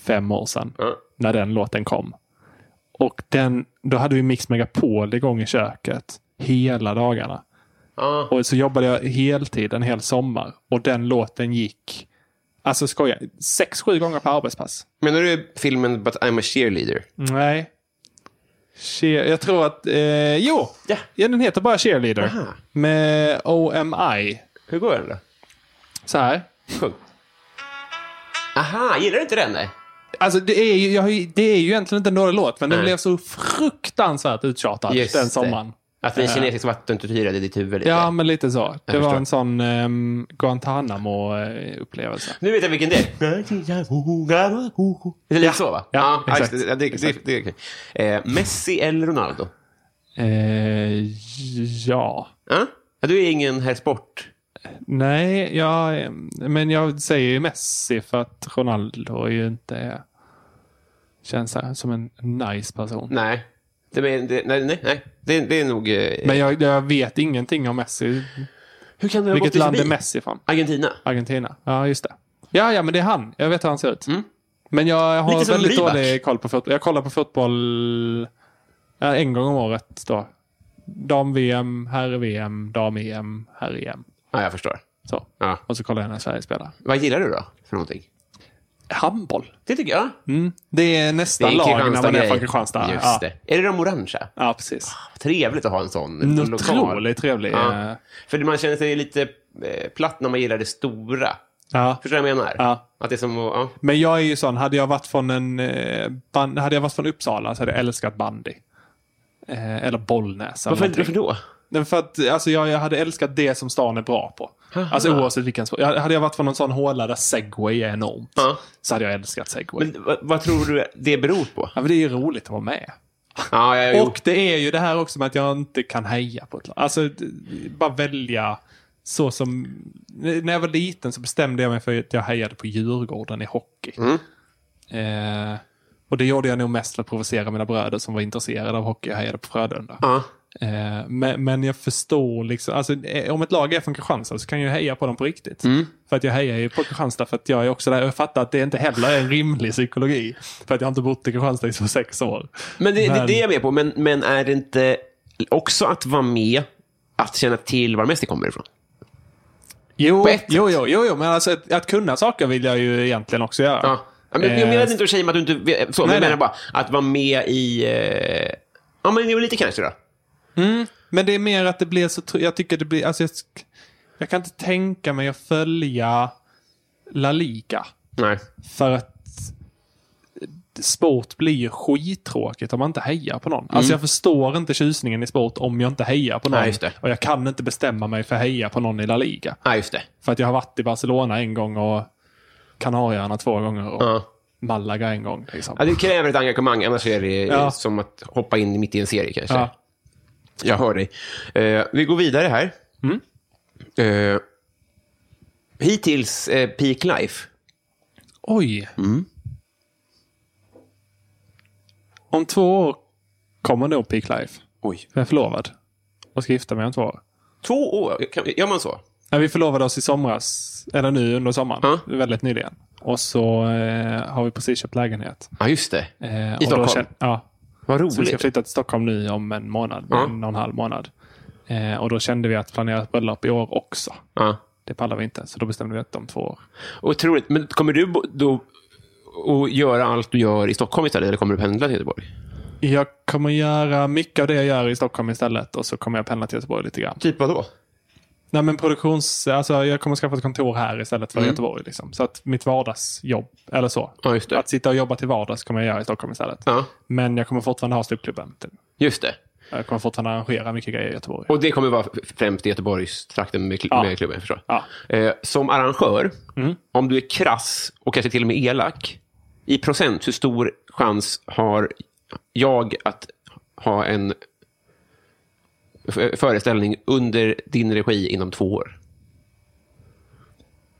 S3: fem år sedan.
S2: Ja.
S3: När den låten kom. Och den, då hade vi Mix Megapol igång i köket hela dagarna.
S2: Ja.
S3: Och så jobbade jag heltid en hel sommar. Och den låten gick, alltså skoja, sex, sju gånger per arbetspass.
S2: Menar du filmen But I'm a cheerleader?
S3: Nej. Cheer, jag tror att, eh, jo,
S2: Ja.
S3: ja, den heter bara Cheerleader.
S2: Aha.
S3: Med OMI.
S2: Hur går den då?
S3: Så här.
S2: Sjung. Aha, gillar du inte den? Nej.
S3: Alltså det är ju, jag har ju, det är ju egentligen inte en dålig låt, men den
S2: Nej.
S3: blev så fruktansvärt uttjatad
S2: Just
S3: den
S2: det.
S3: sommaren.
S2: Att det är kinesisk vattentortyrad i ditt huvud? lite.
S3: Eh. Ja, men lite så. Det var
S2: förstår.
S3: en sån um, Guantanamo-upplevelse.
S2: Nu vet jag vilken det är. Det är lite så, va?
S3: ja,
S2: just
S3: exakt.
S2: det. Ja, det, det, det, det. Eh, Messi eller Ronaldo?
S3: Eh, ja.
S2: Ja? Ja, du är ingen herr sport.
S3: Nej, jag, eh, men jag säger ju Messi för att Ronaldo är ju inte... Känns så här som en nice person.
S2: Nej. Det, men, det, nej, nej, nej. Det, det är nog... Eh,
S3: Men jag, jag vet ingenting om Messi.
S2: hur kan du ha gått
S3: Vilket
S2: dig
S3: land är
S2: förbi?
S3: Messi från?
S2: Argentina.
S3: Argentina. Ja, just det. Ja, ja, men det är han. Jag vet hur han ser ut.
S2: Mm.
S3: Men jag har
S2: Lite som
S3: väldigt
S2: Rybak.
S3: dålig koll på fotboll. Jag kollar på fotboll ja, en gång om året. då. Dam-VM, herr-VM, dam-EM, herr-EM.
S2: Ja, jag förstår.
S3: Så.
S2: Ja.
S3: Och så kollar jag när Sverige spelar.
S2: Vad gillar du då? För någonting?
S3: Handboll.
S2: Det tycker jag.
S3: Mm. Det är
S2: Det
S3: nästa
S2: är en
S3: lag när man är
S2: Kristianstad-grej.
S3: från Kristianstad.
S2: Just
S3: ja.
S2: det. Är det de orangea?
S3: ja, precis.
S2: Trevligt att ha en sån.
S3: En
S2: lokal.
S3: Otroligt trevlig. eh,
S2: Ja.
S3: Ja.
S2: För man känner sig lite eh, platt när man gillar det stora.
S3: Ja.
S2: Förstår du vad jag menar?
S3: Ja.
S2: Att det är som att, ja.
S3: Men jag är ju sån, hade jag varit från, en, eh, ban- hade jag varit från Uppsala så hade jag älskat bandy. Eh, eller Bollnäs. Eller
S2: Varför,
S3: någonting.
S2: varför då?
S3: Nej, För att alltså, jag, jag hade älskat det som stan är bra på. Alltså oavsett vilken sport. Jag, hade jag varit från någon sån håla där segway är enormt.
S2: Ja.
S3: Så hade jag älskat segway.
S2: Men, vad, vad tror du det beror på?
S3: ja, men det är ju roligt att vara med.
S2: Ja, jag, jo.
S3: Och det är ju det här också med att jag inte kan heja på ett lag. Alltså, d- bara välja så som... När jag var liten så bestämde jag mig för att jag hejade på Djurgården i hockey.
S2: Mm.
S3: Eh, och det gjorde jag nog mest för att provocera mina bröder som var intresserade av hockey. Jag hejade på Frölunda.
S2: Ja.
S3: Eh, men, men jag förstår liksom, alltså, eh, om ett lag är från Kristianstad så kan jag ju heja på dem på riktigt.
S2: Mm.
S3: För att jag hejar ju på Kristianstad för att jag är också där. Jag fattar att det inte heller är en rimlig psykologi. För att jag har inte bott i Kristianstad i så sex år.
S2: Men det, det,
S3: Men-
S2: det är jag med på. Men, men är det inte också att vara med, att känna till var Messi kommer ifrån?
S3: Jo,
S2: På ett sätt.
S3: jo, jo, jo, jo men alltså, att, att kunna saker vill jag ju egentligen också göra.
S2: Ja. Ja, men, jag
S3: Eh,
S2: menar inte att säga att du inte vet, så, men
S3: Nej,
S2: jag menar
S3: nej.
S2: bara att vara med i... Eh, ja, men jo, lite kanske då.
S3: Men det är mer att det blir så... tr- Jag tycker det blir... Alltså, jag, sk- jag kan inte tänka mig att följa La Liga.
S2: Nej.
S3: För att sport blir ju skittråkigt om man inte hejar på någon. Alltså jag förstår inte tjusningen i sport om jag inte hejar på någon.
S2: Mm. Nej, just det.
S3: Och jag kan inte bestämma mig för att heja på någon i La Liga.
S2: Ja, just det.
S3: För att jag har varit i Barcelona en gång och Kanarieöarna två gånger och
S2: Ja.
S3: Malaga en gång. Liksom.
S2: Ja, det kräver ett engagemang, annars är det eh,
S3: Ja.
S2: som att hoppa in mitt i en serie kanske.
S3: Ja.
S2: Jag hör dig. Eh, vi går vidare här. Eh, hittills eh, peak life.
S3: Oj.
S2: Mm.
S3: Om två år kommer nog Peak Life.
S2: Oj.
S3: Jag är förlovad och ska gifta mig om två år.
S2: Två år, kan, gör man så?
S3: Nej, vi förlovade oss i somras, eller nu under sommaren,
S2: Ja.
S3: väldigt nyligen. Och så eh, har vi precis köpt lägenhet.
S2: Ja, just det.
S3: Eh, och
S2: I
S3: då
S2: Stockholm?
S3: känner- ja.
S2: Vad
S3: Så vi ska
S2: roligt.
S3: flytta till Stockholm nu om en månad,
S2: Ja.
S3: en och en halv månad. Eh, och då kände vi att planera ett bröllop i år också.
S2: Ja.
S3: Det pallar vi inte, så då bestämde vi att om två år.
S2: Otroligt. Men kommer du bo- då och göra allt du gör i Stockholm istället, eller kommer du pendla till Göteborg?
S3: Jag kommer göra mycket av det jag gör i Stockholm istället och så kommer jag pendla till Göteborg lite grann.
S2: Typ vad då?
S3: Nej, men produktions... Alltså, jag kommer skaffa ett kontor här istället för i
S2: Mm.
S3: Göteborg. Liksom. Så att mitt vardagsjobb, eller så.
S2: Ja, just det.
S3: Att sitta och jobba till vardags kommer jag göra i Stockholm istället.
S2: Ja,
S3: Men jag kommer fortfarande ha ståuppklubben. Typ.
S2: just det.
S3: Jag kommer fortfarande arrangera mycket grejer i Göteborg.
S2: Och det kommer vara f- främst i Göteborgstrakten med, kl-
S3: Ja.
S2: med klubben, jag förstår.
S3: Ja.
S2: Eh, som arrangör,
S3: Mm.
S2: om du är krass och kanske till och med elak, i procent, hur stor chans har jag att ha en f- föreställning under din regi inom två år?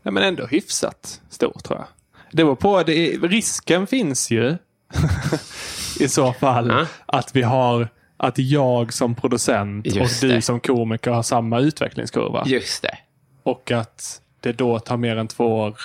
S3: Nej, men ändå hyfsat stor tror jag. Det var på, det är, risken finns ju i så fall
S2: Ja.
S3: att vi har att jag som producent
S2: Just
S3: och du
S2: det.
S3: som komiker har samma utvecklingskurva.
S2: Just det.
S3: Och att det då tar mer än två år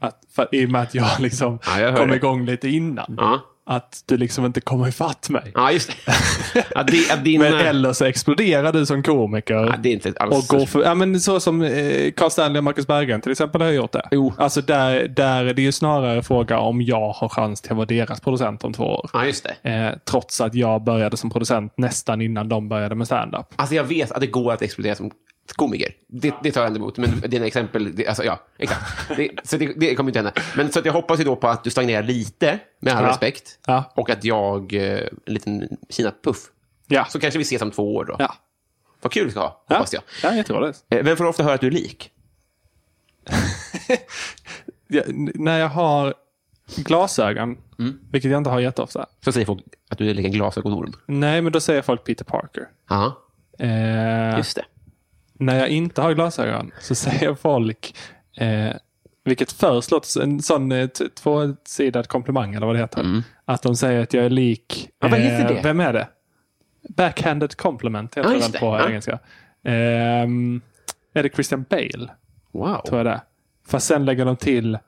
S3: att, för, i och med att jag liksom
S2: Ja, jag hör
S3: kom
S2: det.
S3: igång lite innan.
S2: Ja,
S3: Att du liksom inte kommer ifatt mig.
S2: ja just det. Att di- att din,
S3: Men
S2: eh,
S3: eller så exploderar du som komiker.
S2: ja, det är inte alls...
S3: Och går för, ja, men så som eh, Carl Stanley och Marcus Berggren till exempel har gjort det.
S2: Jo.
S3: Alltså där, där är det ju snarare fråga om jag har chans till att vara deras producent om två år.
S2: Ja, just det.
S3: Eh, trots att jag började som producent nästan innan de började med stand-up.
S2: Alltså jag vet att det går att explodera som komiker. Det, det tar jag inte emot. Men dina exempel, det, alltså ja, exakt. Det, så det, det kommer inte hända. Men så att jag hoppas ju då på att du stagnerar lite, med all
S3: Ja.
S2: respekt.
S3: Ja.
S2: Och att jag, eh, en liten Kina-puff.
S3: Ja.
S2: Så kanske vi ses om två år då.
S3: Ja.
S2: Vad kul vi ska ha,
S3: Ja.
S2: hoppas jag.
S3: Ja, jätteroligt.
S2: Eh, Vem får ofta höra att du är lik?
S3: Ja, n- när jag har glasögon,
S2: Mm.
S3: vilket jag inte har jätteofta.
S2: Så säger folk att du är lik en glasögonorm.
S3: Nej, men då säger folk Peter Parker.
S2: Ja,
S3: Eh,
S2: just det.
S3: när jag inte har glasögon så säger folk, eh, vilket först låter som en sån eh, t- tvåsidad komplimang eller vad det heter. Att de säger att jag är lik...
S2: Mm.
S3: eh,
S2: Ja, vad heter det?
S3: Vem är det? Backhanded compliment
S2: Ja,
S3: heter
S2: just
S3: den
S2: det.
S3: på
S2: Ja.
S3: engelska. Ehm, är det Christian Bale?
S2: Wow.
S3: Tror jag det är. Fast sen lägger de till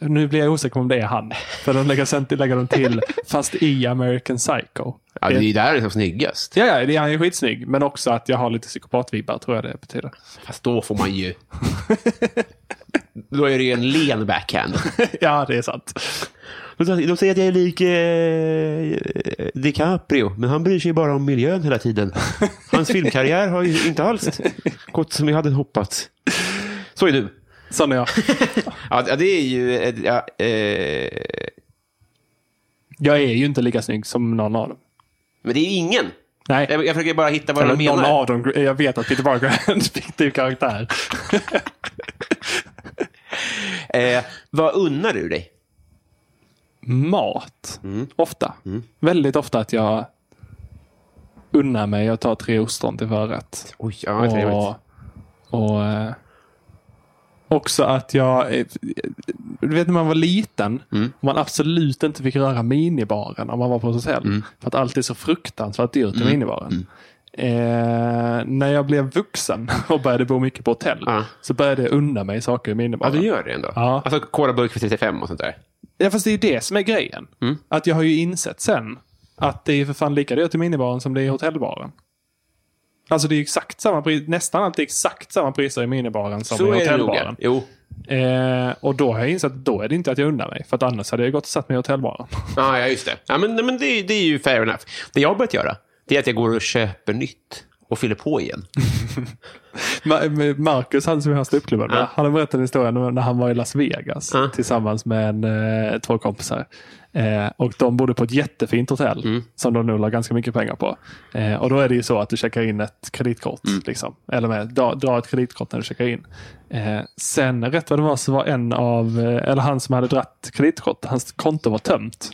S3: nu blir jag osäker på om det är han. För de lägger, sen lägger de till, fast i American Psycho.
S2: Ja, det är ju där det är som snyggast.
S3: Ja, ja, det är han är skitsnygg. Men också att jag har lite psykopatvibbar, tror jag det betyder.
S2: Fast då får man ju... då är det ju en len backhand.
S3: ja, det är sant.
S2: De säger att jag är lik eh, DiCaprio, men han bryr sig ju bara om miljön hela tiden. Hans filmkarriär har ju inte alls gått som jag hade hoppats. Så är du.
S3: Sån är jag.
S2: Ja, det är ju... eh, Ja, eh,
S3: Jag är ju inte lika snygg som någon av dem.
S2: men det är ju ingen.
S3: Nej,
S2: Jag, jag försöker bara hitta vad
S3: eller
S2: de
S3: någon
S2: menar.
S3: av dem. Jag vet att Peter Parker är en fiktiv karaktär.
S2: Eh, vad unnar du dig?
S3: Mat.
S2: Mm.
S3: Ofta. Väldigt ofta att jag unnar mig att ta tre ostron till förrätt.
S2: Oj, ja, vad trevligt.
S3: och, och eh, också att jag... eh, Du vet när man var liten,
S2: Mm.
S3: man absolut inte fick röra minibaren om man var på ett hotell.
S2: Mm.
S3: För att allt är så fruktansvärt dyrt i minibaren. Eh, när jag blev vuxen och började bo mycket på hotell
S2: Ja.
S3: så började jag unna mig saker i
S2: Ja,
S3: minibaren.
S2: du gör det ändå.
S3: Ja.
S2: Alltså, Cola-burk för 35 och sånt där.
S3: Ja, fast det är ju det som är grejen.
S2: Mm.
S3: Att jag har ju insett sen att det är för fan lika dyrt i minibaren som det är i hotellbaren. Alltså det är ju exakt samma pris, nästan alltid exakt samma priser i minibaren som i
S2: Så är det nog. ja.
S3: hotellbaren.
S2: Jo.
S3: Eh, och då har jag insett att då är det inte att jag undrar mig. För att annars hade jag gått och satt mig i hotellbaren.
S2: Ja, ja, just det. Ja, men, nej, men det, det är ju fair enough. Det jag har börjat göra, det är att jag går och köper nytt och fyller på igen.
S3: Ma- med Marcus, han som jag har ståuppklubben med, han har berättat en historia när när han var i Las Vegas
S2: Ja.
S3: tillsammans med en, eh, två kompisar. Eh, och de bodde på ett jättefint hotell som de nog la ganska mycket pengar på. Eh, och då är det ju så att du checkar in ett kreditkort. Liksom. Eller med, dra, dra ett kreditkort när du checkar in. Eh, sen rätt vad det var så var en av, eh, eller han som hade dratt kreditkort, hans konto var tömt.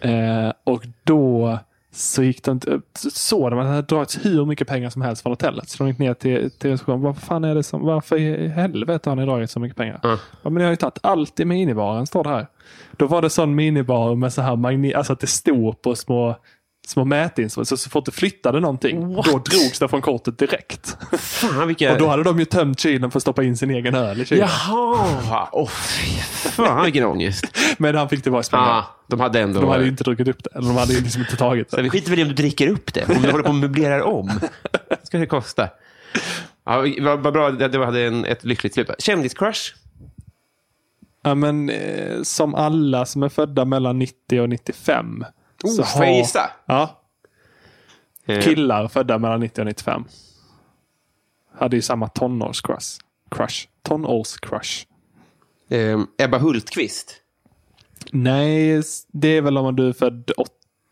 S3: Eh, och då så gick de inte, så såg de att det hade dragits hur mycket pengar som helst från hotellet. Så de gick ner till, till receptionen. Vad fan är det som, varför i helvete har ni dragit så mycket pengar?
S2: Mm.
S3: Ja, men jag har ju tagit allt i minibaren, står det här. Då var det sån minibar med så här magnet, alltså att det stod på små små mätinstrument. Så, så fort du flyttade någonting, då drogs det från kortet direkt.
S2: Fan, vilka...
S3: Och då hade de ju tömt kylen för att stoppa in sin egen öl i kylen.
S2: Jaha! Oh, fy fan, vilken ångest.
S3: Men han fick tillbaka pengarna.
S2: Ah, de hade ändå...
S3: De hade ju inte druckit upp det. Eller de hade ju liksom inte tagit
S2: Så
S3: det.
S2: vi skiter väl i om du dricker upp det, om du håller på och möblerar om. Vad ska det kosta? Ja, vad, vad bra att du hade en, ett lyckligt slut. Kändiscrush?
S3: Ja, men, eh, som alla som är födda mellan 90 och 95.
S2: Oh,
S3: så
S2: får jag
S3: har-
S2: gissa?
S3: Ja,
S2: Eh,
S3: killar födda mellan 90 och 95. Hade ju samma tonårscrush. Crush. Tonårscrush.
S2: Ehm, Ebba Hultqvist.
S3: Nej, s- det är väl om du är född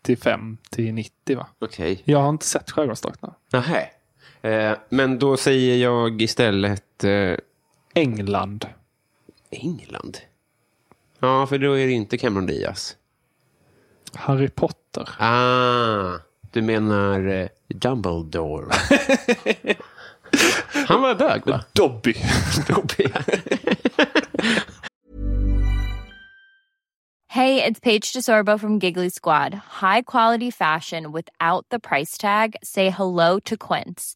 S3: 85 till 90 va?
S2: Okej.
S3: Jag har inte sett Skärgårdsdrakterna.
S2: Nähä. Eh, men då säger jag istället eh,
S3: England.
S2: England. Ja, för då är det inte Cameron Diaz.
S3: Harry Potter.
S2: Ah, du menar eh, Dumbledore. Han var bög, va?
S3: Dobby.
S4: Hey, it's Paige DeSorbo from Giggly Squad. High quality fashion without the price tag. Say hello to Quince.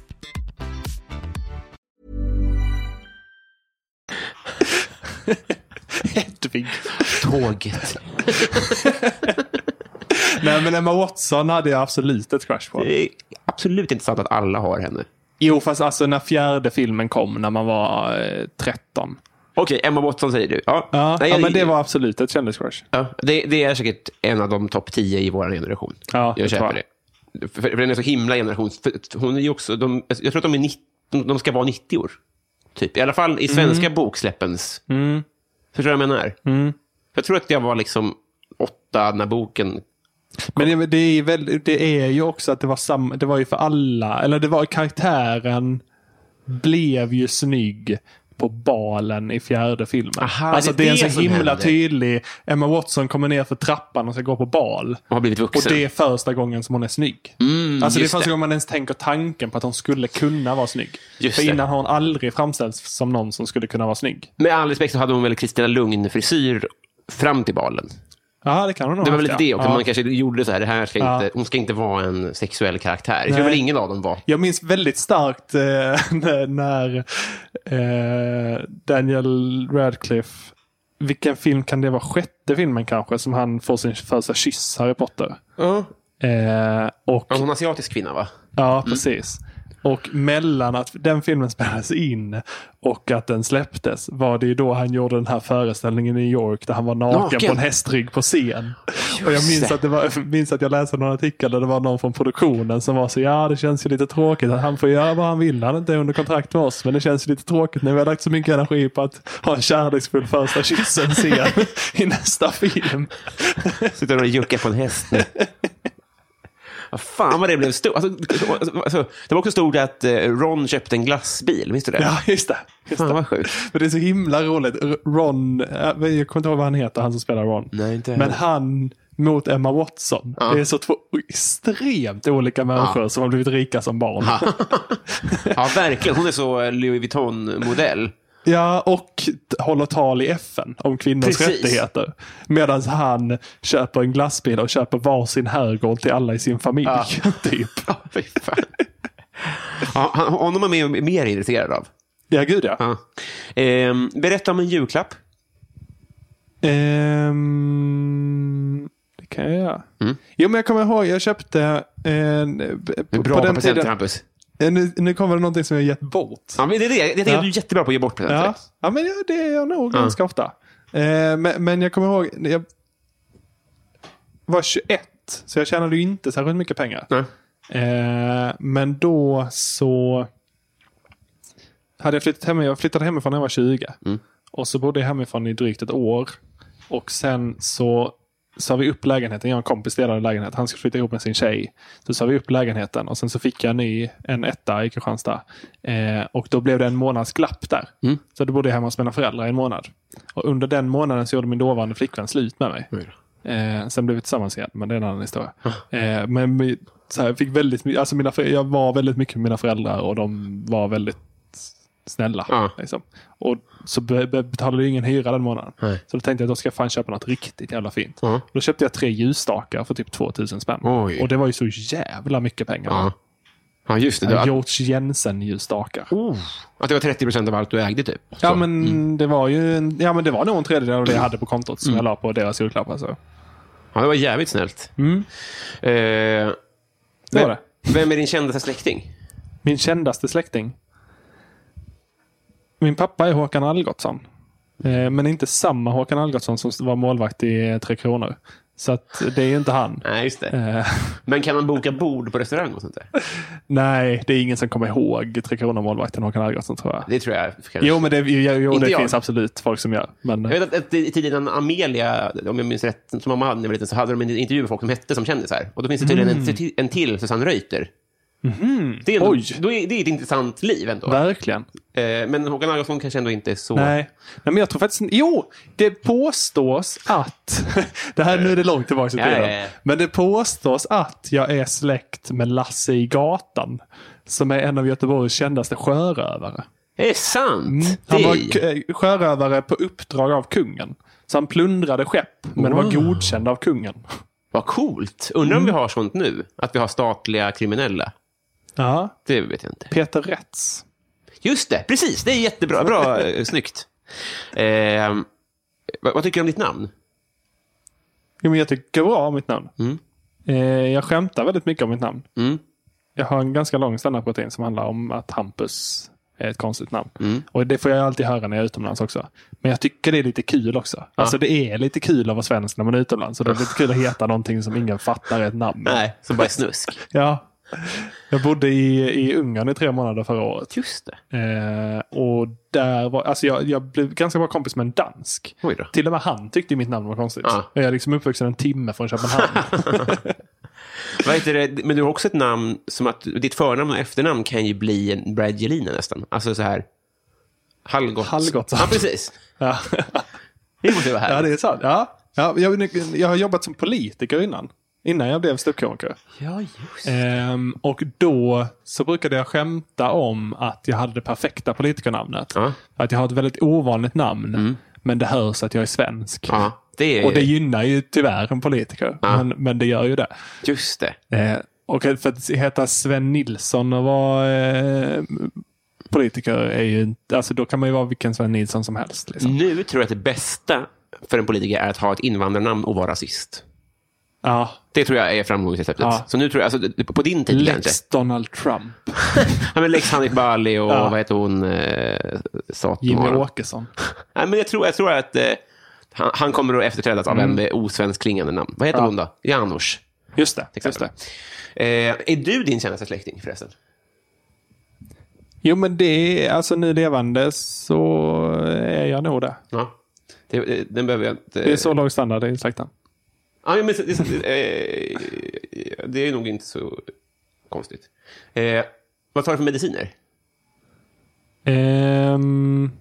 S3: Hedvig.
S2: Tåget.
S3: Nej, men Emma Watson hade jag absolut ett crush på.
S2: Det är absolut inte sant att alla har henne.
S3: Jo, fast alltså när fjärde filmen kom, när man var eh, 13.
S2: Okej, Emma Watson säger du. Ja,
S3: Ja,
S2: Nej,
S3: ja
S2: jag-
S3: men det var absolut ett kändiscrush.
S2: Ja, det, det är säkert en av de topp 10 i vår generation.
S3: Ja,
S2: jag
S3: det
S2: köper
S3: tror
S2: det.
S3: jag.
S2: För, för den är så himla generation. För, hon är ju också, de, jag tror att de, är 90, de de ska vara 90 år. Typ. I alla fall i svenska
S3: Mm.
S2: boksläppens. Förstår du vad jag menar? Jag tror att jag var liksom åtta när boken...
S3: Men det- det är, väl, det är ju också att det var samma, det var ju för alla, eller det var karaktären blev ju snygg på balen i fjärde filmen.
S2: Aha,
S3: alltså
S2: det är
S3: det är en
S2: det
S3: så
S2: som
S3: himla
S2: händer.
S3: tydlig, Emma Watson kommer ner för trappan och ska gå på bal.
S2: Och har blivit
S3: Och
S2: vuxen. Mm,
S3: det är första gången som hon är snygg. alltså det är
S2: just det.
S3: första gången man ens tänker tanken på att hon skulle kunna vara snygg.
S2: Just
S3: för
S2: det.
S3: innan har hon aldrig framställts som någon som skulle kunna vara snygg.
S2: Med all respekt så hade hon väl Kristina Lugn-frisyr fram till balen.
S3: Ja, det kan hon nog
S2: Det var
S3: ha
S2: väl lite
S3: haft,
S2: det
S3: ja.
S2: också.
S3: Ja.
S2: Man kanske gjorde så här, det här ska
S3: Ja.
S2: inte, hon ska inte vara en sexuell karaktär. Det tror
S3: Nej.
S2: väl ingen av dem var.
S3: Jag minns väldigt starkt eh, när- när eh, Daniel Radcliffe, vilken film kan det vara? Sjätte filmen kanske, som han får sin första kyss, Harry Potter. Eh, och,
S2: Hon är en asiatisk kvinna, va?
S3: ja, precis. Och mellan att den filmen spelades in och att den släpptes var det ju då han gjorde den här föreställningen i New York där han var naken,
S2: Naken.
S3: på en hästrygg på scen. och jag minns
S2: det.
S3: att, det var, minns att jag läste någon artikel där det var någon från produktionen som var så ja det känns ju lite tråkigt att han får göra vad han vill. Han är inte under kontrakt med oss men det känns ju lite tråkigt när vi har lagt så mycket energi på att ha en kärleksfull första kyssen scen i nästa film.
S2: Sitter och juckar på en häst nu. Vad Fan vad det blev stort. Alltså, alltså, det var också stort att eh, Ron köpte en glassbil. Minns du det?
S3: Ja, just det. Just
S2: Fan
S3: det.
S2: vad sjukt.
S3: Men det är så himla roligt. R- Ron, eh, jag kommer inte ihåg vad han heter, han som spelar Ron.
S2: Nej, inte
S3: Men
S2: heller.
S3: han mot Emma Watson. Det är så två extremt olika människor som har blivit rika som barn. Ja,
S2: Ja, verkligen. Hon är så eh, Louis Vuitton-modell.
S3: och t- håller tal i FN om kvinnors
S2: Precis.
S3: rättigheter. Medan han köper en glassbil och köper varsin herrgård till alla i sin familj. typ.
S2: Ja, fy fan. Ja, han- honom är man mer intresserad av.
S3: Ja, gud ja.
S2: Ja. Ehm, berätta om en julklapp.
S3: Ehm, det kan jag göra. Jo, men jag kommer ihåg, jag köpte en...
S2: En Mm. bra present, Hampus.
S3: Eh, Nu, nu kommer det någonting som jag gett bort.
S2: Ja, men det är det. Jag tänker
S3: Ja.
S2: att du är jättebra på att ge bort presenter.
S3: Ja, ja men ja, det är jag nog ganska ofta. Eh, men, men jag kommer ihåg, jag var 21, så jag tjänade ju inte särskilt mycket pengar.
S2: Nej.
S3: Eh, men då så hade jag flyttat hem, jag flyttade hemifrån när
S2: Mm.
S3: jag var 20. Och så bodde jag hemifrån i drygt ett år. Och sen så sa vi upp lägenheten. Jag och en kompis delade lägenhet. Han skulle flytta ihop med sin tjej. Så sa vi upp lägenheten och sen så fick jag ny, en etta i Kristianstad. Eh, och då blev det en månads glapp där.
S2: Mm.
S3: Så då bodde jag hemma hos mina föräldrar i en månad. Och under den månaden så gjorde min dåvarande flickvän slut med mig.
S2: Oj då. Ah.
S3: Eh, sen blev vi tillsammans igen, men det är en annan historia. Eh, men vi- så här, jag, fick väldigt, my- alltså mina, förä- jag var väldigt mycket med mina föräldrar och de var väldigt snälla.
S2: Ja.
S3: Liksom. Och så be, be, betalade jag ingen hyra den månaden.
S2: Nej.
S3: Så då tänkte jag att då ska jag fan köpa något riktigt jävla fint.
S2: Ja.
S3: Då köpte jag tre ljusstakar för typ 2000 spänn.
S2: Oj.
S3: Och det var ju så jävla mycket pengar.
S2: Ja. ja, just det. Du,
S3: Ja,
S2: att,
S3: George Jensen-ljusstakar.
S2: oh, att det var 30 procent av allt du ägde, typ. Så.
S3: Ja men, det var ju en, ja, men det var nog en tredjedel av det jag hade på kontot som
S2: Mm.
S3: jag la på deras alltså. julklappar. Så.
S2: ja, det var jävligt snällt. Eh,
S3: Det var
S2: vem,
S3: det.
S2: vem är din kändaste släkting?
S3: Min kändaste släkting. Min pappa är Håkan Algotsson. Eh, Men inte samma Håkan Algotsson som var målvakt i eh, Tre Kronor. Så att det är ju inte han.
S2: Nej, just det.
S3: Eh,
S2: Men kan man boka bord på restaurang och sånt där?
S3: Nej, det är ingen som kommer ihåg Tre Kronor-målvakten Håkan Algotsson tror jag.
S2: Det tror jag. kanske.
S3: Jo, men det, jo, jo,
S2: Inte
S3: det
S2: jag.
S3: finns absolut folk som gör. Men,
S2: Jag vet att, att i tidningen Amelia, om jag minns rätt, som mamma hade när jag var liten, så hade de en intervju med folk som hette som kändisar. Och då finns det tydligen en, en till Susanne Reuter. Det, är ändå,
S3: Mm. Mhm. Oj.
S2: då är, det är ett intressant liv ändå.
S3: verkligen.
S2: Eh, men Håkan Algotsson kanske ändå inte är så...
S3: Nej. Nej, men jag tror faktiskt Jo, det påstås att... det här nu är det långt tillbaka i
S2: Ja,
S3: tiden.
S2: ja, ja.
S3: Men det påstås att jag är släkt med Lasse i gatan. Som är en av Göteborgs kändaste sjörövare.
S2: Det är sant!
S3: Mm. Han
S2: Det-
S3: var k- eh, sjörövare på uppdrag av kungen. Så han plundrade skepp, men
S2: Ah.
S3: var godkänd av kungen.
S2: Vad coolt! Undrar
S3: Mm.
S2: om vi har sånt nu? Att vi har statliga kriminella?
S3: Ja.
S2: Det vet jag inte.
S3: Peter Rätts.
S2: Just det, precis! Det är jättebra. Bra, eh, snyggt. Eh, vad, vad tycker du om ditt namn?
S3: Jo, men jag tycker bra om mitt namn. Eh, jag skämtar väldigt mycket om mitt namn.
S2: Mm.
S3: Jag har en ganska lång standup-rutin som handlar om att Hampus är ett konstigt namn.
S2: Mm.
S3: Och Det får jag alltid höra när jag är utomlands också. Men jag tycker det är lite kul också. Alltså Det är lite kul att vara svensk när man är utomlands. Så det är lite kul att heta någonting som ingen fattar är ett namn.
S2: Nej, som bara är snusk.
S3: Ja. Jag bodde i, i Ungern i tre månader förra året.
S2: Just det.
S3: Eh, och där var, alltså jag, jag blev ganska bra kompis med en dansk.
S2: Oj då.
S3: Till och med han tyckte mitt namn var konstigt.
S2: Ja.
S3: Jag är liksom uppvuxen en timme från Köpenhamn.
S2: Vad heter det? Men du har också ett namn som att ditt förnamn och efternamn kan ju bli en Bradgelina nästan. Alltså så här... Hallgott.
S3: Hallgott.
S2: Ja, precis.
S3: ja.
S2: Det måste ju vara
S3: ja,
S2: här.
S3: det är sant. Ja. Ja, jag, jag har jobbat som politiker innan. Innan jag blev ståuppkomiker.
S2: Ja, just
S3: Ehm, och då så brukade jag skämta om att jag hade det perfekta politikernamnet.
S2: Ja. Mm.
S3: Att jag har ett väldigt ovanligt namn. Men det hörs att jag är svensk.
S2: Ja, det är...
S3: Och det gynnar ju tyvärr en politiker. Men, men det gör ju det.
S2: Just det.
S3: Eh, och för att heta Sven Nilsson och vara eh, politiker är ju inte... Alltså då kan man ju vara vilken Sven Nilsson som helst. Liksom.
S2: Nu tror jag att det bästa för en politiker är att ha ett invandrarnamn och vara rasist.
S3: Ja.
S2: Det tror jag är framgångsreceptet.
S3: Ja.
S2: Så nu tror jag, alltså, det- på din tid kanske.
S3: Lex Donald Trump.
S2: Ja, men Lex Hanif Bali och
S3: Ja.
S2: vad heter hon? Eh,
S3: Jimmy
S2: Satomara.
S3: Åkesson.
S2: Nej, men jag tror, jag tror att eh, han, han kommer att efterträdas av en med osvensk klingande namn. Vad heter hon då? Janusz.
S3: Just det.
S2: till
S3: Just
S2: exempel.
S3: det.
S2: Eh, är du din kändaste släkting förresten?
S3: Jo, men det är alltså nu levande så är jag nog det.
S2: Ja. Det, det, den behöver jag inte...
S3: Det är så låg standard i släkten.
S2: Ja, men, det, det, eh, det är nog inte så konstigt. Eh, vad tar du för mediciner?
S3: Ehm,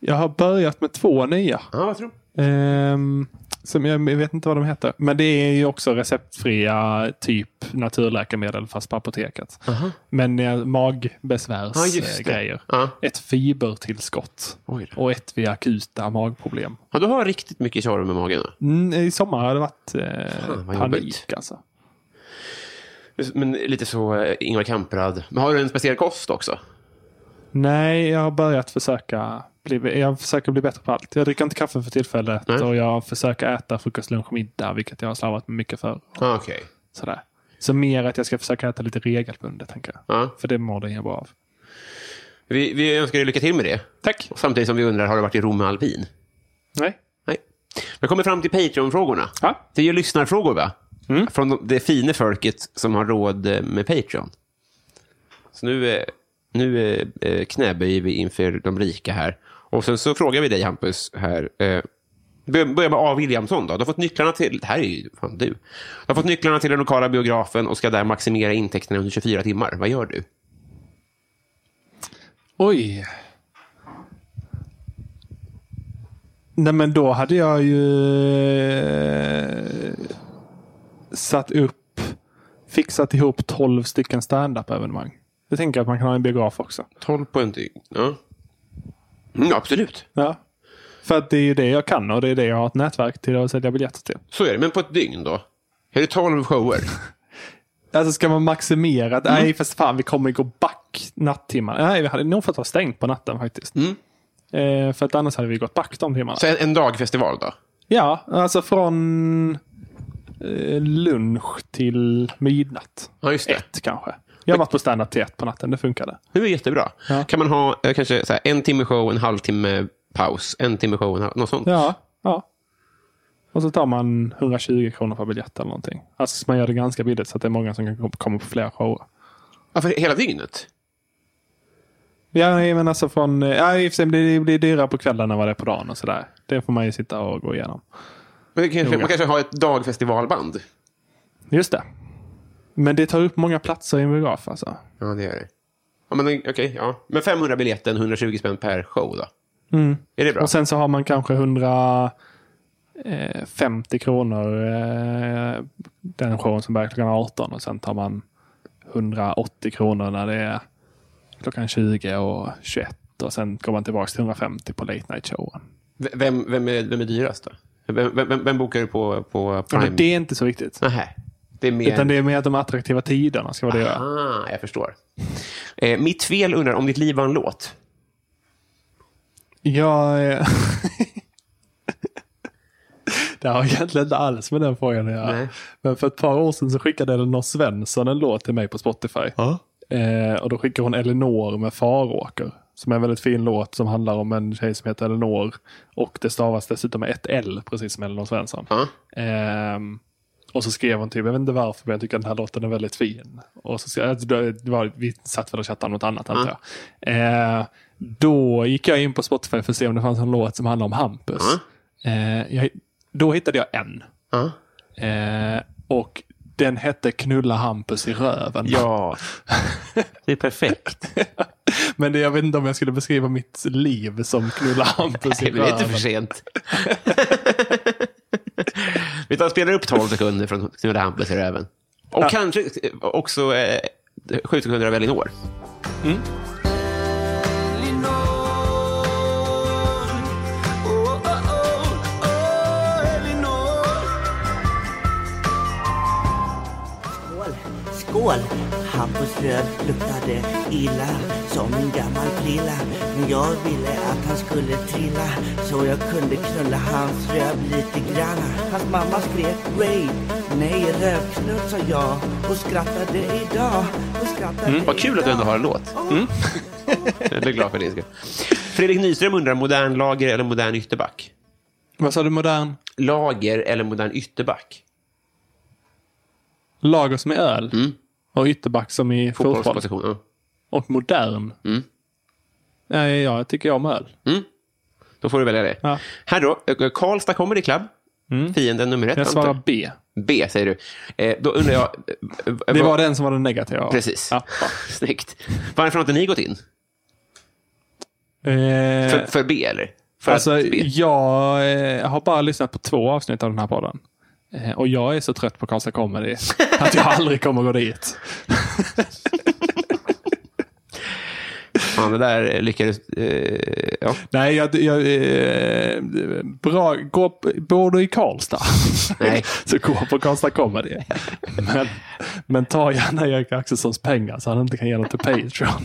S3: jag har börjat med två nya.
S2: Ja, vad tror du?
S3: Ehm, som jag, jag vet inte vad de heter. Men det är ju också receptfria typ naturläkemedel fast på apoteket. Men eh,
S2: Ja, just det.
S3: magbesvärsgrejer.
S2: Ja.
S3: Ett fibertillskott.
S2: Oj då.
S3: Och ett vid akuta magproblem.
S2: Ja, du har riktigt mycket tjorv med magen. då.
S3: Mm, I sommar har det varit eh,
S2: vad jobbigt.
S3: panik alltså.
S2: Men lite så eh, Ingvar Kamprad. Men har du en speciell kost också?
S3: Nej, jag har börjat försöka bli, jag försöker bli bättre på allt. Jag dricker inte kaffe för tillfället
S2: Nej.
S3: och jag försöker äta frukost, lunch och middag, vilket jag har slarvat med mycket för.
S2: Ah, Okej.
S3: Sådär. Så mer att jag ska försöka äta lite regelbundet, tänker jag.
S2: Ja.
S3: För det mår den bra av.
S2: Vi, vi önskar dig lycka till med det.
S3: Tack!
S2: Och Samtidigt som vi undrar, har du varit i Rom med alpin?
S3: Nej.
S2: Nej. Vi kommer fram till Patreon-frågorna.
S3: Ja.
S2: Det är ju lyssnarfrågor, va? Från de- det fina folket som har råd eh, med Patreon. Så nu, eh, nu eh, eh, knäböjer vi inför de rika här. Och sen så frågar vi dig, Hampus, här. eh, Bör- Börja med A. Williamson då. Du har fått nycklarna till... Det här är ju fan du. Du har fått nycklarna till den lokala biografen och ska där maximera intäkterna under 24 timmar. Vad gör du?
S3: Oj. Nej, men då hade jag ju eh, satt upp, fixat ihop 12 stycken standup-evenemang. Det tänker jag att man kan ha i en biograf också.
S2: 12 poäng till. Ja. Mm, absolut.
S3: Ja. För att det är ju det jag kan och det är det jag har ett nätverk till att sälja biljetter till.
S2: Så är det. Men på ett dygn då? Är det 12 shower?
S3: Alltså ska man maximera? Nej, fast fan vi kommer gå back Mm. nattimmar. Mm. Nej, vi hade nog fått ha stängt på natten faktiskt. Eh, för att annars hade vi gått back de timmarna.
S2: Så en, en dagfestival då?
S3: Ja, alltså från eh, lunch till midnatt.
S2: Ja, just det.
S3: Ett kanske. Jag har varit på standup till ett på natten. Det funkade.
S2: Det är jättebra. Kan man ha eh, kanske så här, en timme show, en halvtimme paus, en timme show, en halv, något sånt?
S3: Ja, ja. Och så tar man 120 kronor per biljett eller någonting. Alltså man gör det ganska billigt så att det är många som kan kom- komma på fler shower.
S2: Ja, för hela dygnet?
S3: Ja, nej, men alltså från... eh, Ja, i och för sig blir det blir dyrare på kvällen än vad det är på dagen och sådär. Det får man ju sitta och gå igenom.
S2: Men det kanske,
S3: Noga.
S2: man kanske har ett dagfestivalband?
S3: Just det. Men det tar upp många platser i en biograf alltså.
S2: Ja, det gör det. Ja, men eh, okej. ja. Men 500 biljetten, 120 spänn per show då? Är det bra?
S3: Mm. Och sen så har man kanske 150 kronor eh, den showen som börjar klockan 18 och sen tar man 180 kronor när det är klockan 20 och 21 och sen går man tillbaka till 150 på late night showen.
S2: V- Vem, vem, är, vem är dyrast då? Vem, vem, vem bokar du på, på
S3: Ja,
S2: Prime?
S3: men det är inte så viktigt.
S2: Nähä. Det är mer...
S3: Utan det är mer de attraktiva tiderna ska vara det. jag-
S2: Ah, jag förstår. Eh, mitt fel undrar om ditt liv var en låt.
S3: Jag... eh, Det har egentligen inte alls med den frågan att göra.
S2: Nej.
S3: Men för ett par år sedan så skickade Elinor Svensson en låt till mig på Spotify. Eh, och då skickade hon Elinor med Faråker. Som är en väldigt fin låt som handlar om en tjej som heter Elinor. Och det stavas dessutom med ett L, precis som Elinor Svensson.
S2: Ja.
S3: Ehm, och så skrev hon typ, jag vet inte varför, men jag tycker att den här låten är väldigt fin. Och så skrev, jag- det var, vi satt väl och chattade om något annat, antar jag. Eh, då gick jag in på Spotify för att se om det fanns en låt som handlade om Hampus. Eh, jag, då hittade jag en.
S2: Ja.
S3: Eh, och den hette Knulla Hampus i röven.
S2: Ja. Det är perfekt.
S3: Men det, jag vet inte om jag skulle beskriva mitt liv som Knulla Hampus i
S2: Nej, men det är inte
S3: röven.
S2: för sent. Vi tar och spelar upp 12 sekunder från Knulla Hampus i röven. Och kanske eh, också eh, 7 sekunder av Elinor.
S5: Skål! Skål! Hampus Löv luktade illa som en gammal prilla. Men jag ville att han skulle trilla så jag kunde knulla hans röv lite granna. Hans mamma skrek rave. Nej, rövknull sa jag och skrattade idag. Och skrattade
S2: Mm, Vad kul att du ändå har en låt. Mm. Jag är glad för din skull. Fredrik Nyström undrar, modern lager eller modern ytterback?
S3: Vad sa du, modern?
S2: Lager eller modern ytterback?
S3: Lager som i öl. Och ytterback som i fotboll.
S2: Mm. Fotbollsposition. Mm. ja.
S3: och modern. Nej, ja, jag tycker om öl.
S2: Då får du välja det.
S3: Ja. Mm.
S2: Här då, eh, Karlstad Comedy Club. Fienden nummer ett.
S3: Jag
S2: antar
S3: svarar B.
S2: B, säger du. Eh, då undrar jag... eh, eh,
S3: Det
S2: vad-
S3: var den som var den negativa.
S2: Precis.
S3: Ja.
S2: Snyggt. Varför har inte ni gått in?
S3: Eh,
S2: För, för B, eller? För
S3: alltså,
S2: att B.
S3: jag eh, har bara lyssnat på två avsnitt av den här podden. Eh, och jag är så trött på Karlstad Comedy att jag aldrig kommer gå dit.
S2: Fan, det där eh, lyckades... Eh, ja.
S3: Nej, jag, jag, eh, bra, gå, på- bor du i Karlstad
S2: Nej.
S3: så gå på Karlstad Comedy. Men, men ta gärna Erik Axelssons pengar så han inte kan ge dem till Patreon.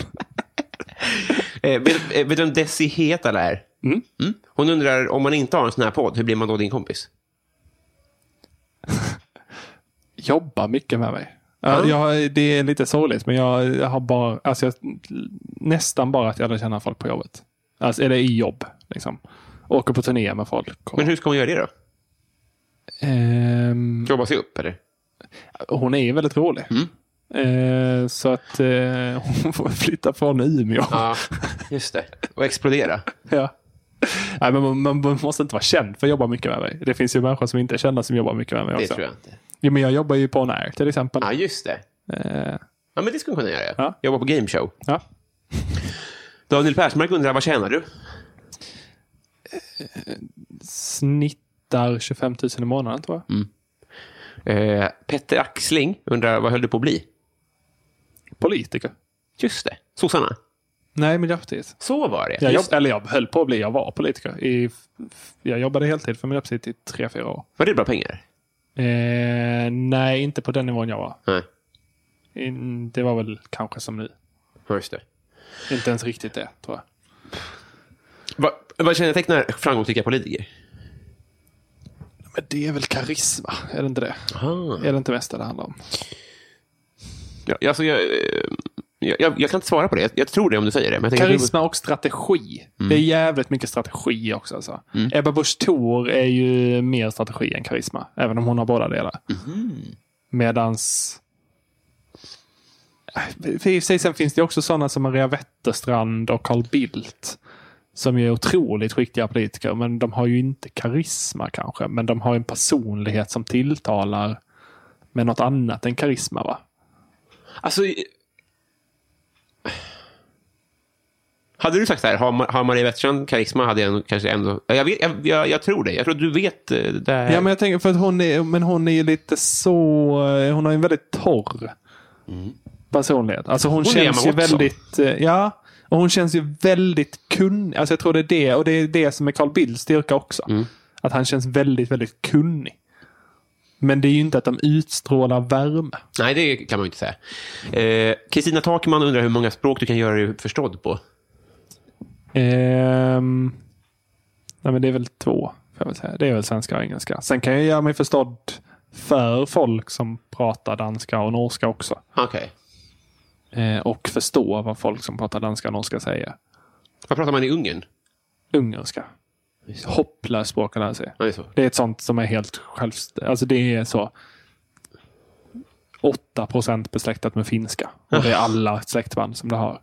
S2: Eh, vet, eh, vet du vem Desi Hetala är? Mm. Hon undrar, om man inte har en sån här podd, hur blir man då din kompis?
S3: jobbar mycket med mig. Ja. Jag, det är lite sorgligt, men jag, jag har bara, alltså jag, nästan bara att jag lär känna folk på jobbet. Alltså, eller i jobb. Liksom. Åker på turné med folk. Och,
S2: Men hur ska hon göra det då?
S3: Ehm,
S2: Jobba sig upp, eller?
S3: hon är ju väldigt rolig.
S2: Mm.
S3: Ehm, så att eh, hon får flytta från Umeå.
S2: Ja, just det. Och explodera.
S3: Ja. Nej, men man, man, man måste inte vara känd för att jobba mycket med mig. Det finns ju människor som inte är kända som jobbar mycket med mig
S2: Det
S3: också.
S2: tror jag Ah. inte.
S3: Jo, men jag jobbar ju på On Air till exempel.
S2: Ja, just det.
S3: Eh,
S2: Ja, men det skulle man kunna göra.
S3: Ja.
S2: Jobba på gameshow.
S3: ja.
S2: Daniel Persmark undrar, vad tjänar du?
S3: Snittar 25 000 i månaden tror
S2: Mm.
S3: jag.
S2: Eh, Petter Axling undrar, vad höll du på att bli?
S3: Politiker.
S2: Just det, sossarna.
S3: Nej, Miljöpartiet.
S2: Så var det.
S3: Jag
S2: Just,
S3: jobb, eller jag höll på att bli, jag var politiker. I, f- jag jobbade heltid för Miljöpartiet i tre, fyra år.
S2: var det bra pengar?
S3: Eh, nej, inte på den nivån jag var.
S2: Nej,
S3: In, det var väl kanske som nu.
S2: ja, just det.
S3: Inte ens riktigt det, tror jag.
S2: Vad, vad kännetecknar framgångsrika politiker?
S3: Men det är väl karisma, är det inte det?
S2: Aha.
S3: Är det inte mest det det handlar om?
S2: Ja, alltså, jag, eh, jag, jag, jag kan inte svara på det. Jag, jag tror det om du säger det. Mm. Men jag tänker-
S3: Karisma och strategi. Det är jävligt mycket strategi också. Alltså.
S2: Mm.
S3: Ebba Busch Thor är ju mer strategi än karisma, även om hon har båda delar.
S2: Mm.
S3: Medans... Äh, I och för sig sen finns det ju också sådana som Maria Wetterstrand och Carl Bildt som ju är otroligt skickliga politiker, men de har ju inte karisma kanske. Men de har en personlighet som tilltalar med något annat än karisma. va?
S2: Alltså... i- Hade du sagt så här, har, Ma- har Maria Wetterstrand karisma hade jag nog kanske ändå... Ja, Jag, vet, jag, jag, jag tror det. Jag tror att du vet eh, det här.
S3: Ja, men jag tänker för att hon är, men hon är ju lite så, eh, hon har ju en väldigt torr personlighet. Alltså hon,
S2: är
S3: känns ju
S2: Emma Watson.
S3: väldigt, eh, ja, och hon känns ju väldigt kunnig. Alltså jag tror det är det, och det är det som är Carl Bildts styrka också. Att han känns väldigt, väldigt kunnig. Men det är ju inte att de utstrålar värme.
S2: Nej, det kan man ju inte säga. Eh, Kristina Takman undrar hur många språk du kan göra dig förstådd på.
S3: Ehm, nej men det är väl två. Får jag väl säga. Det är väl svenska och engelska. Sen kan jag göra mig förstådd för folk som pratar danska och norska också.
S2: Okej.
S3: Eh, och förstå vad folk som pratar danska och norska säger.
S2: Vad pratar man i Ungern?
S3: Ungerska. Hopplöst språk att lära sig.
S2: Ja, det är så.
S3: Det är ett sånt som är helt självständigt. Alltså det är så. 8 procent besläktat med finska. Och det är alla släktband som det har.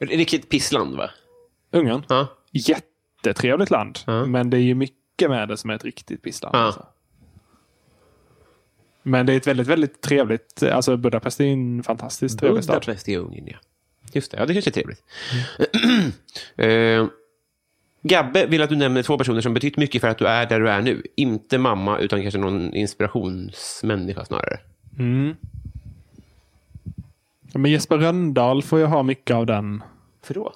S2: Riktigt pissland, va?
S3: Ungern.
S2: Ja.
S3: Jättetrevligt land. Men det är ju mycket med det som är ett riktigt pissland.
S2: Ja.
S3: Alltså. Men det är ett väldigt, väldigt trevligt... Alltså Budapest är ju en fantastiskt trevlig stad.
S2: Budapest i Ungern, ja. Just det, ja, det kanske är trevligt. eh, Gabbe vill att du nämner två personer som betytt mycket för att du är där du är nu. Inte mamma, utan kanske någon inspirationsmänniska snarare.
S3: Ja, Men Jesper Röndahl får ju ha mycket av den
S2: För då?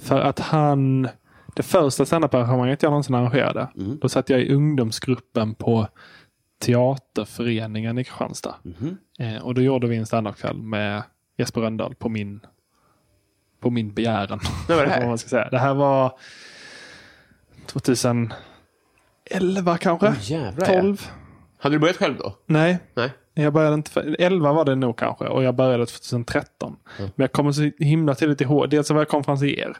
S3: För att han... Det första standup-arrangemanget jag någonsin arrangerade,
S2: Mm.
S3: då satt jag i ungdomsgruppen på Teaterföreningen i Kristianstad.
S2: Mm-hmm.
S3: Eh, och då gjorde vi en standupkväll med Jesper Rönndahl på min, på min begäran.
S2: När var det här?
S3: Vad man ska säga. det här var 2011 kanske?
S2: jävlar, ja.
S3: 12?
S2: Hade du börjat själv då?
S3: Nej,
S2: Nej.
S3: jag började inte för, 11 var det nog kanske och jag började 2013.
S2: Mm.
S3: Men jag kommer så himla tydligt ihåg. Dels så var jag konferencier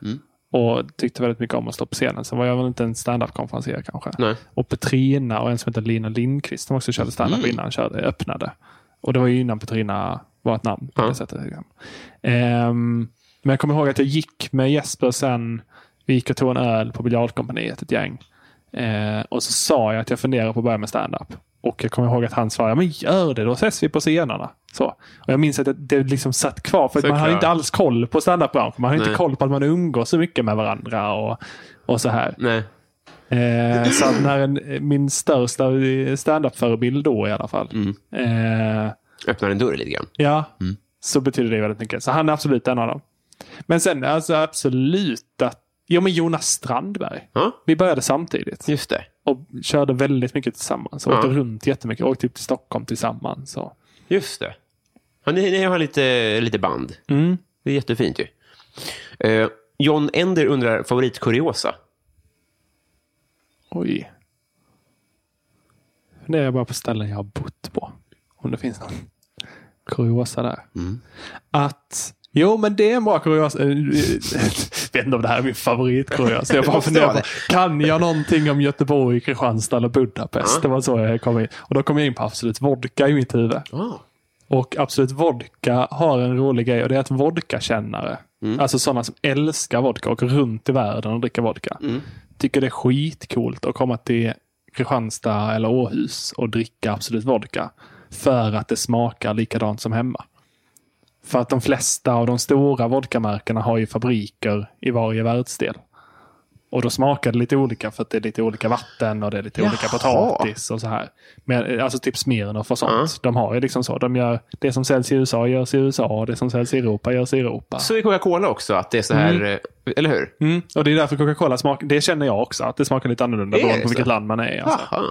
S3: och tyckte väldigt mycket om att stå på scenen. Sen var jag väl inte en standup-konferencier kanske.
S2: Nej.
S3: Och Petrina och en som heter Lina Lindqvist som också körde standup
S2: Mm.
S3: innan körde, öppnade. Och det var ju innan Petrina var ett namn. På
S2: Ja.
S3: det sättet. liksom. Ehm, men jag kommer ihåg att jag gick med Jesper sen. Vi gick och tog en öl på biljardkompaniet, ett gäng. Eh, och så sa jag att jag funderar på att börja med stand-up. Och jag kommer ihåg att han svarade, men gör det, då ses vi på scenerna. Så. Och jag minns att det, det liksom satt kvar, för att man hade
S2: Såklart.
S3: inte alls koll på standup-branschen. Man hade
S2: Nej.
S3: inte koll på att man umgås så mycket med varandra och, och så här.
S2: Nej.
S3: Eh, så att när en, min största standup-förebild då i alla fall.
S2: Mm.
S3: Eh,
S2: Öppnar en dörr lite grann.
S3: Ja,
S2: Mm.
S3: så betyder det väldigt mycket. Så han är absolut en av dem. Men sen alltså absolut att... Jo, men Jonas Strandberg.
S2: Ja,
S3: Vi började samtidigt
S2: just det.
S3: och körde väldigt mycket tillsammans. Och
S2: Ja.
S3: åkte runt jättemycket. Åkte upp till Stockholm tillsammans. Så.
S2: Just det. Ja, ni, ni har lite, lite band. Det är jättefint ju. Eh, John Ender undrar favoritkuriosa.
S3: Oj. Nu är jag bara på ställen jag har bott på. Om det finns någon kuriosa där. Att... Jo, men det är en bra kuriosa. Eh, eh, vet inte om det här är min favoritkuriosa. Jag bara
S2: måste
S3: funderar
S2: vara
S3: på, kan jag någonting om Göteborg, Kristianstad eller Budapest? Det var så jag kom in. Och då kom jag in på Absolut Vodka i mitt huvud.
S2: Ah.
S3: Och Absolut Vodka har en rolig grej och det är att vodkakännare, alltså sådana som älskar vodka och åker runt i världen och dricker vodka. tycker det är skitcoolt att komma till Kristianstad eller Åhus och dricka Absolut Vodka. För att det smakar likadant som hemma. För att de flesta av de stora vodkamärkena har ju fabriker i varje världsdel. Och då smakar det lite olika för att det är lite olika vatten och det är lite olika
S2: Jaha.
S3: potatis och så här. Men, alltså typ Smirnoff och sånt. De har ju liksom så. De gör, det som säljs i USA görs i USA och det som säljs i Europa görs i Europa.
S2: Så är Coca-Cola också, att det är så här, eh, eller hur?
S3: Mm. Och det är därför Coca-Cola smakar, det känner jag också, att det smakar lite annorlunda
S2: Är det
S3: beroende på
S2: så?
S3: vilket land man är i. Alltså.
S2: Jaha.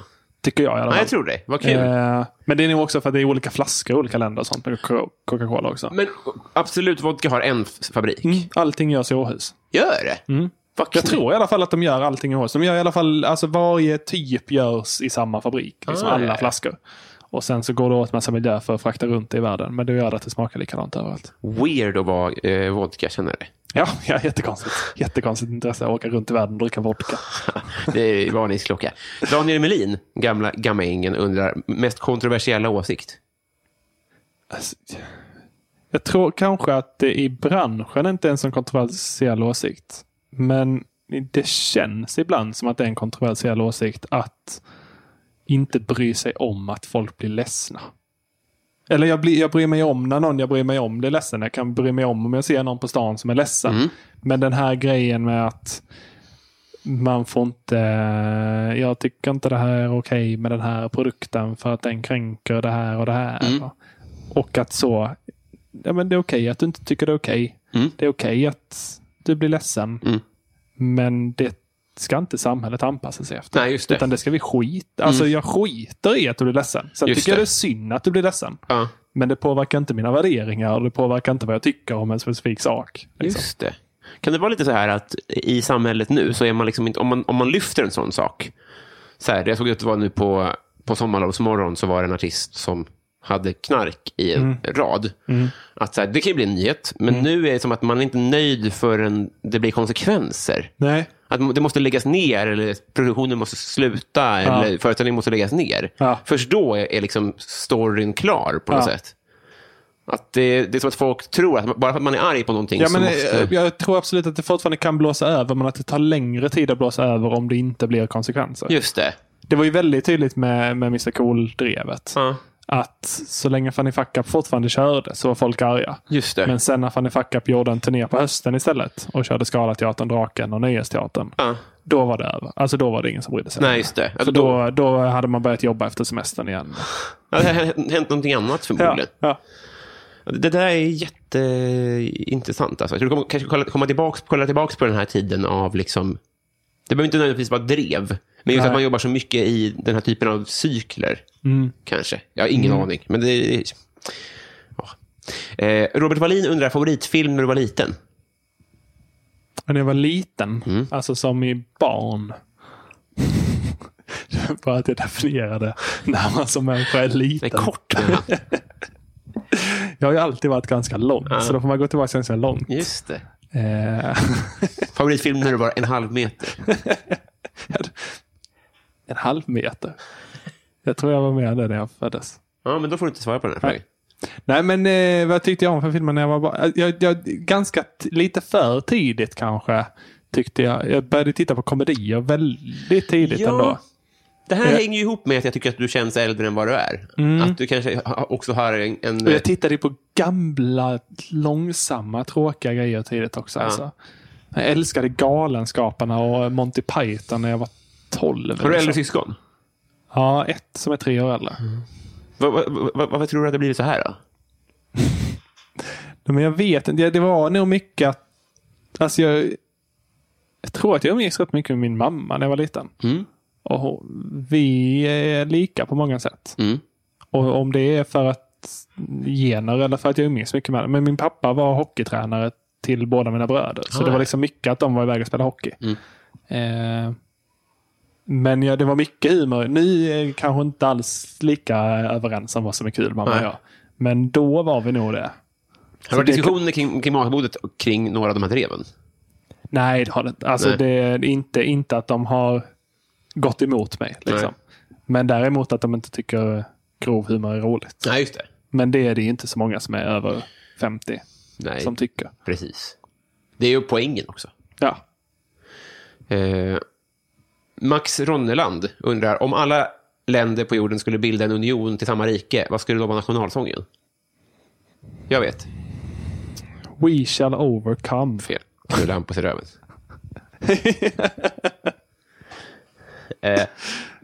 S3: Tycker jag i alla
S2: Ja,
S3: fall.
S2: jag tror det. Vad kul.
S3: Eh, men det är nog också för att det är olika flaskor i olika länder och sånt med Coca- Coca-Cola också.
S2: Men Absolut Vodka har en f- fabrik.
S3: Mm. Allting görs i Åhus.
S2: Gör det? Vad
S3: Mm. Jag
S2: kul.
S3: tror i alla fall att de gör allting i Åhus. De gör i alla fall, alltså varje typ görs i samma fabrik. Liksom
S2: Ah,
S3: alla
S2: ja, ja.
S3: flaskor. Och sen så går det åt massa miljö för att frakta runt det i världen. Men det gör att det smakar likadant överallt.
S2: Weird att vara eh, vodka-kännare.
S3: Ja, ja jättekonstigt. Jättekonstigt intresse att åka runt i världen och dricka vodka.
S2: Det är varningsklocka. Daniel Melin, gamla gammaängen, undrar mest kontroversiella åsikt.
S3: Alltså, Jag tror kanske att det i branschen inte är en sån kontroversiell åsikt. Men det känns ibland som att det är en kontroversiell åsikt att inte bry sig om att folk blir ledsna. Eller jag, blir, jag bryr mig om när någon jag bryr mig om blir ledsen. Jag kan bry mig om om jag ser någon på stan som är ledsen.
S2: Mm.
S3: Men den här grejen med att man får inte... Jag tycker inte det här är okej med den här produkten för att den kränker det här och det här.
S2: Mm.
S3: Och att så... Ja, men det är okej att du inte tycker det är okej.
S2: Mm.
S3: Det är okej att du blir ledsen.
S2: Mm.
S3: Men det ska inte samhället anpassa sig efter.
S2: Nej, just det. Mm.
S3: Utan det ska vi skita... Alltså jag skiter i att du blir ledsen. Sen
S2: Just
S3: tycker jag
S2: det.
S3: det är synd att du blir ledsen.
S2: Ja,
S3: Men det påverkar inte mina värderingar och det påverkar inte vad jag tycker om en specifik sak. Liksom.
S2: just det. Kan det vara lite så här att i samhället nu, så är man liksom inte, om, man, om man lyfter en sån sak. Så här, jag såg att det var nu på, på Sommarlovsmorgon så var det en artist som hade knark i en
S3: Mm.
S2: rad. Att så här, det kan ju bli en nyhet, men nu är det som att man är inte nöjd förrän det blir konsekvenser.
S3: Nej.
S2: Att det måste läggas ner, eller produktionen måste sluta, eller företagen måste läggas ner.
S3: Ja.
S2: Först då är, är liksom storyn klar på något
S3: Ja.
S2: sätt. Att det, det är som att folk tror att bara för att man är arg på någonting
S3: Ja,
S2: så
S3: men,
S2: måste...
S3: eh, Jag tror absolut att det fortfarande kan blåsa över, men att det tar längre tid att blåsa över om det inte blir konsekvenser.
S2: Just det.
S3: Det var ju väldigt tydligt med, med Mr Cool-drevet.
S2: Ja,
S3: Att så länge Fanny Fuck Up fortfarande körde så var folk arga.
S2: just det.
S3: Men sen när Fanny Fuck Up gjorde en turné på hösten istället och körde Scalateatern, Draken och Nöjesteatern.
S2: Ja.
S3: Då var det över. Alltså då var det ingen som brydde sig.
S2: Nej, just det. Alltså,
S3: För då, då hade man börjat jobba efter semestern igen.
S2: Ja, det har hänt hänt någonting annat
S3: Ja,
S2: förmodligen.
S3: ja.
S2: Det där är jätteintressant. Alltså. Jag tror du kommer, kanske kolla, komma tillbaka, kolla tillbaka på den här tiden av... Liksom, det behöver inte nödvändigtvis vara drev, men just
S3: Nej.
S2: att man jobbar så mycket i den här typen av cykler. Kanske. Jag har ingen aning. Men det är, ja. eh, Robert Wallin undrar favoritfilm när du var liten.
S3: Men när jag var liten,
S2: Mm.
S3: alltså som i barn. Det var Bara att jag definierade när man som människa är
S2: Nej,
S3: liten.
S2: kort menar han.
S3: Jag har ju alltid varit ganska lång, så då får man gå tillbaka ganska långt.
S2: Just det.
S3: Eh,
S2: Favoritfilm när du var en halv meter.
S3: en halv meter. Jag tror jag var med där när jag föddes.
S2: Ja, men då får du inte svara på den här frågan.
S3: Nej, men eh, vad tyckte jag om för filmen när jag var barn? Jag, jag, ganska t- lite för tidigt kanske. Tyckte jag. jag började titta på komedier väldigt tidigt
S2: Ja.
S3: ändå.
S2: Det här
S3: Eh. Mm.
S2: hänger ju ihop med att jag tycker att du känns äldre än vad du är. Att du kanske ha- också har en... en
S3: Och jag tittade ju på gamla, långsamma, tråkiga grejer tidigt också. Alltså. Jag älskade Galenskaparna och Monty Python när jag var
S2: har
S3: 12.
S2: du äldre Mm.
S3: liksom.
S2: syskon?
S3: Ja, ett som är tre år äldre.
S2: Vad- vad- vad- vad- Varför tror du att det blivit så här då?
S3: Nej, Men jag vet inte. Det- Det var nog mycket att... Alltså jag, jag tror att jag umgicks rätt mycket med min mamma när jag var liten.
S2: Mm.
S3: Och hon- vi är lika på många sätt.
S2: Mm.
S3: Och om det är för att gener eller för att jag umgicks mycket med det. Men min pappa var hockeytränare till båda mina bröder. Så
S2: Ah,
S3: det
S2: ja. Mm.
S3: var liksom mycket att de var iväg och spelade hockey. Eh, men ja, det var mycket humor. Ni är kanske inte alls lika överens om vad som är kul, mamma och
S2: Nej.
S3: jag. Men då var vi nog det.
S2: Har det varit
S3: det-
S2: diskussioner kring, kring matbordet och kring några av de här dreven?
S3: Nej, det har det inte. Alltså,
S2: Nej.
S3: det är inte, inte att de har gått emot mig. Liksom. Men däremot att de inte tycker grov humor är roligt.
S2: Nej, just det.
S3: Men det är det ju inte så många som är över 50
S2: Nej,
S3: som tycker.
S2: precis. Det är ju poängen också.
S3: Ja.
S2: Eh, Max Ronneland undrar, om alla länder på jorden skulle bilda en union till samma rike, vad skulle då vara nationalsången? Jag vet.
S3: We shall overcome.
S2: Fel. Knulla Hampus i röven. eh,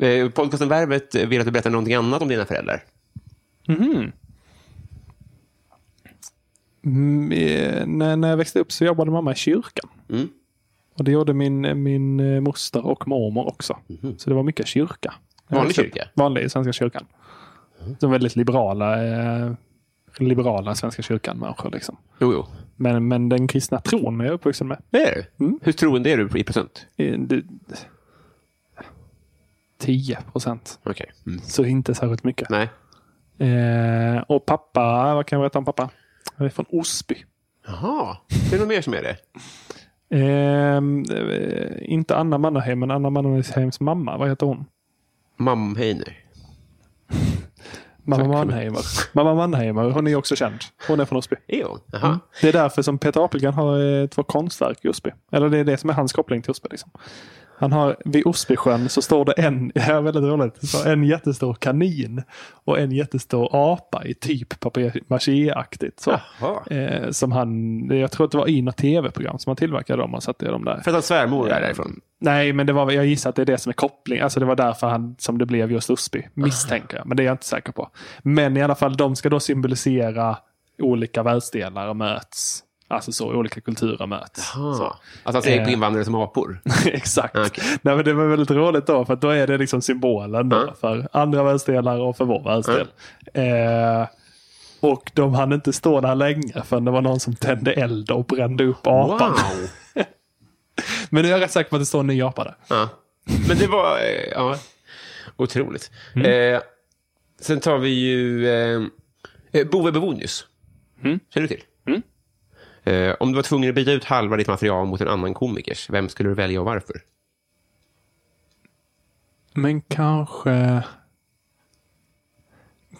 S2: eh, podcasten Värvet vill att du berättar någonting annat om dina föräldrar.
S3: Mm, eh, när, när jag växte upp så jobbade mamma i kyrkan.
S2: Mm.
S3: Och det gjorde min, min eh, moster och mormor också. Så det var mycket kyrka.
S2: Mhm.
S3: När jag
S2: Vanlig
S3: växte upp.
S2: kyrka? Mhm.
S3: Vanlig Svenska kyrkan. De väldigt liberala, eh, liberala Svenska kyrkan-människor. Liksom.
S2: Jo, jo.
S3: Men, men den kristna tron är jag uppvuxen med.
S2: Det Mm. är du. Hur troende är du i procent?
S3: Eh, det- 10 procent.
S2: Okej. Mm.
S3: Så inte särskilt mycket.
S2: Nej.
S3: Eh, och pappa, vad kan jag berätta om pappa? Han är från Osby.
S2: Jaha. Är det någon mer som är det?
S3: Ehm, eh, inte Anna Mannerheim, men Anna Mannerheims mamma. Vad heter hon?
S2: Mamheiner.
S3: Mamma Mannerheimer. Mamma Mannerheimer. Hon är ju också känd. Hon är från Osby.
S2: Är hon? Jaha.
S3: Det är därför som Peter Apelgren har eh, två konstverk i Osby. Eller det är det som är hans koppling till Osby. Liksom. Han har, vid Osbysjön så står det en, det här är väldigt roligt, så en jättestor kanin och en jättestor apa i typ papier-maché-aktigt. Så,
S2: Jaha.
S3: eh, som han, jag tror att det var i något tv-program som han tillverkade dem och satte dem där.
S2: För att hans svärmor är därifrån.
S3: Nej, men det var, jag gissar att det är det som är kopplingen. Alltså det var därför han, som det blev just Usby, misstänker jag. Men det är jag inte säker på. Men i alla fall, de ska då symbolisera olika världsdelar möts. Alltså så, olika kulturer möts.
S2: Så.
S3: Så.
S2: Att han ser på
S3: Eh.
S2: invandrare som apor.
S3: Exakt.
S2: Okej.
S3: Nej, men det var väldigt roligt då, för att då är det liksom symbolen då, för andra världsdelar och för vår världsdel. Eh, och de hann inte stå där länge förrän det var någon som tände eld och brände upp apan.
S2: Wow!
S3: Men nu är jag rätt säker på att det står en ny apa där.
S2: Ja. Men det var... eh, Ja. Otroligt. Eh, sen tar vi ju eh, eh, Bove Bevonius. Känner du till? Eh, om du var tvungen att byta ut halva ditt material mot en annan komikers, vem skulle du välja och varför?
S3: Men kanske...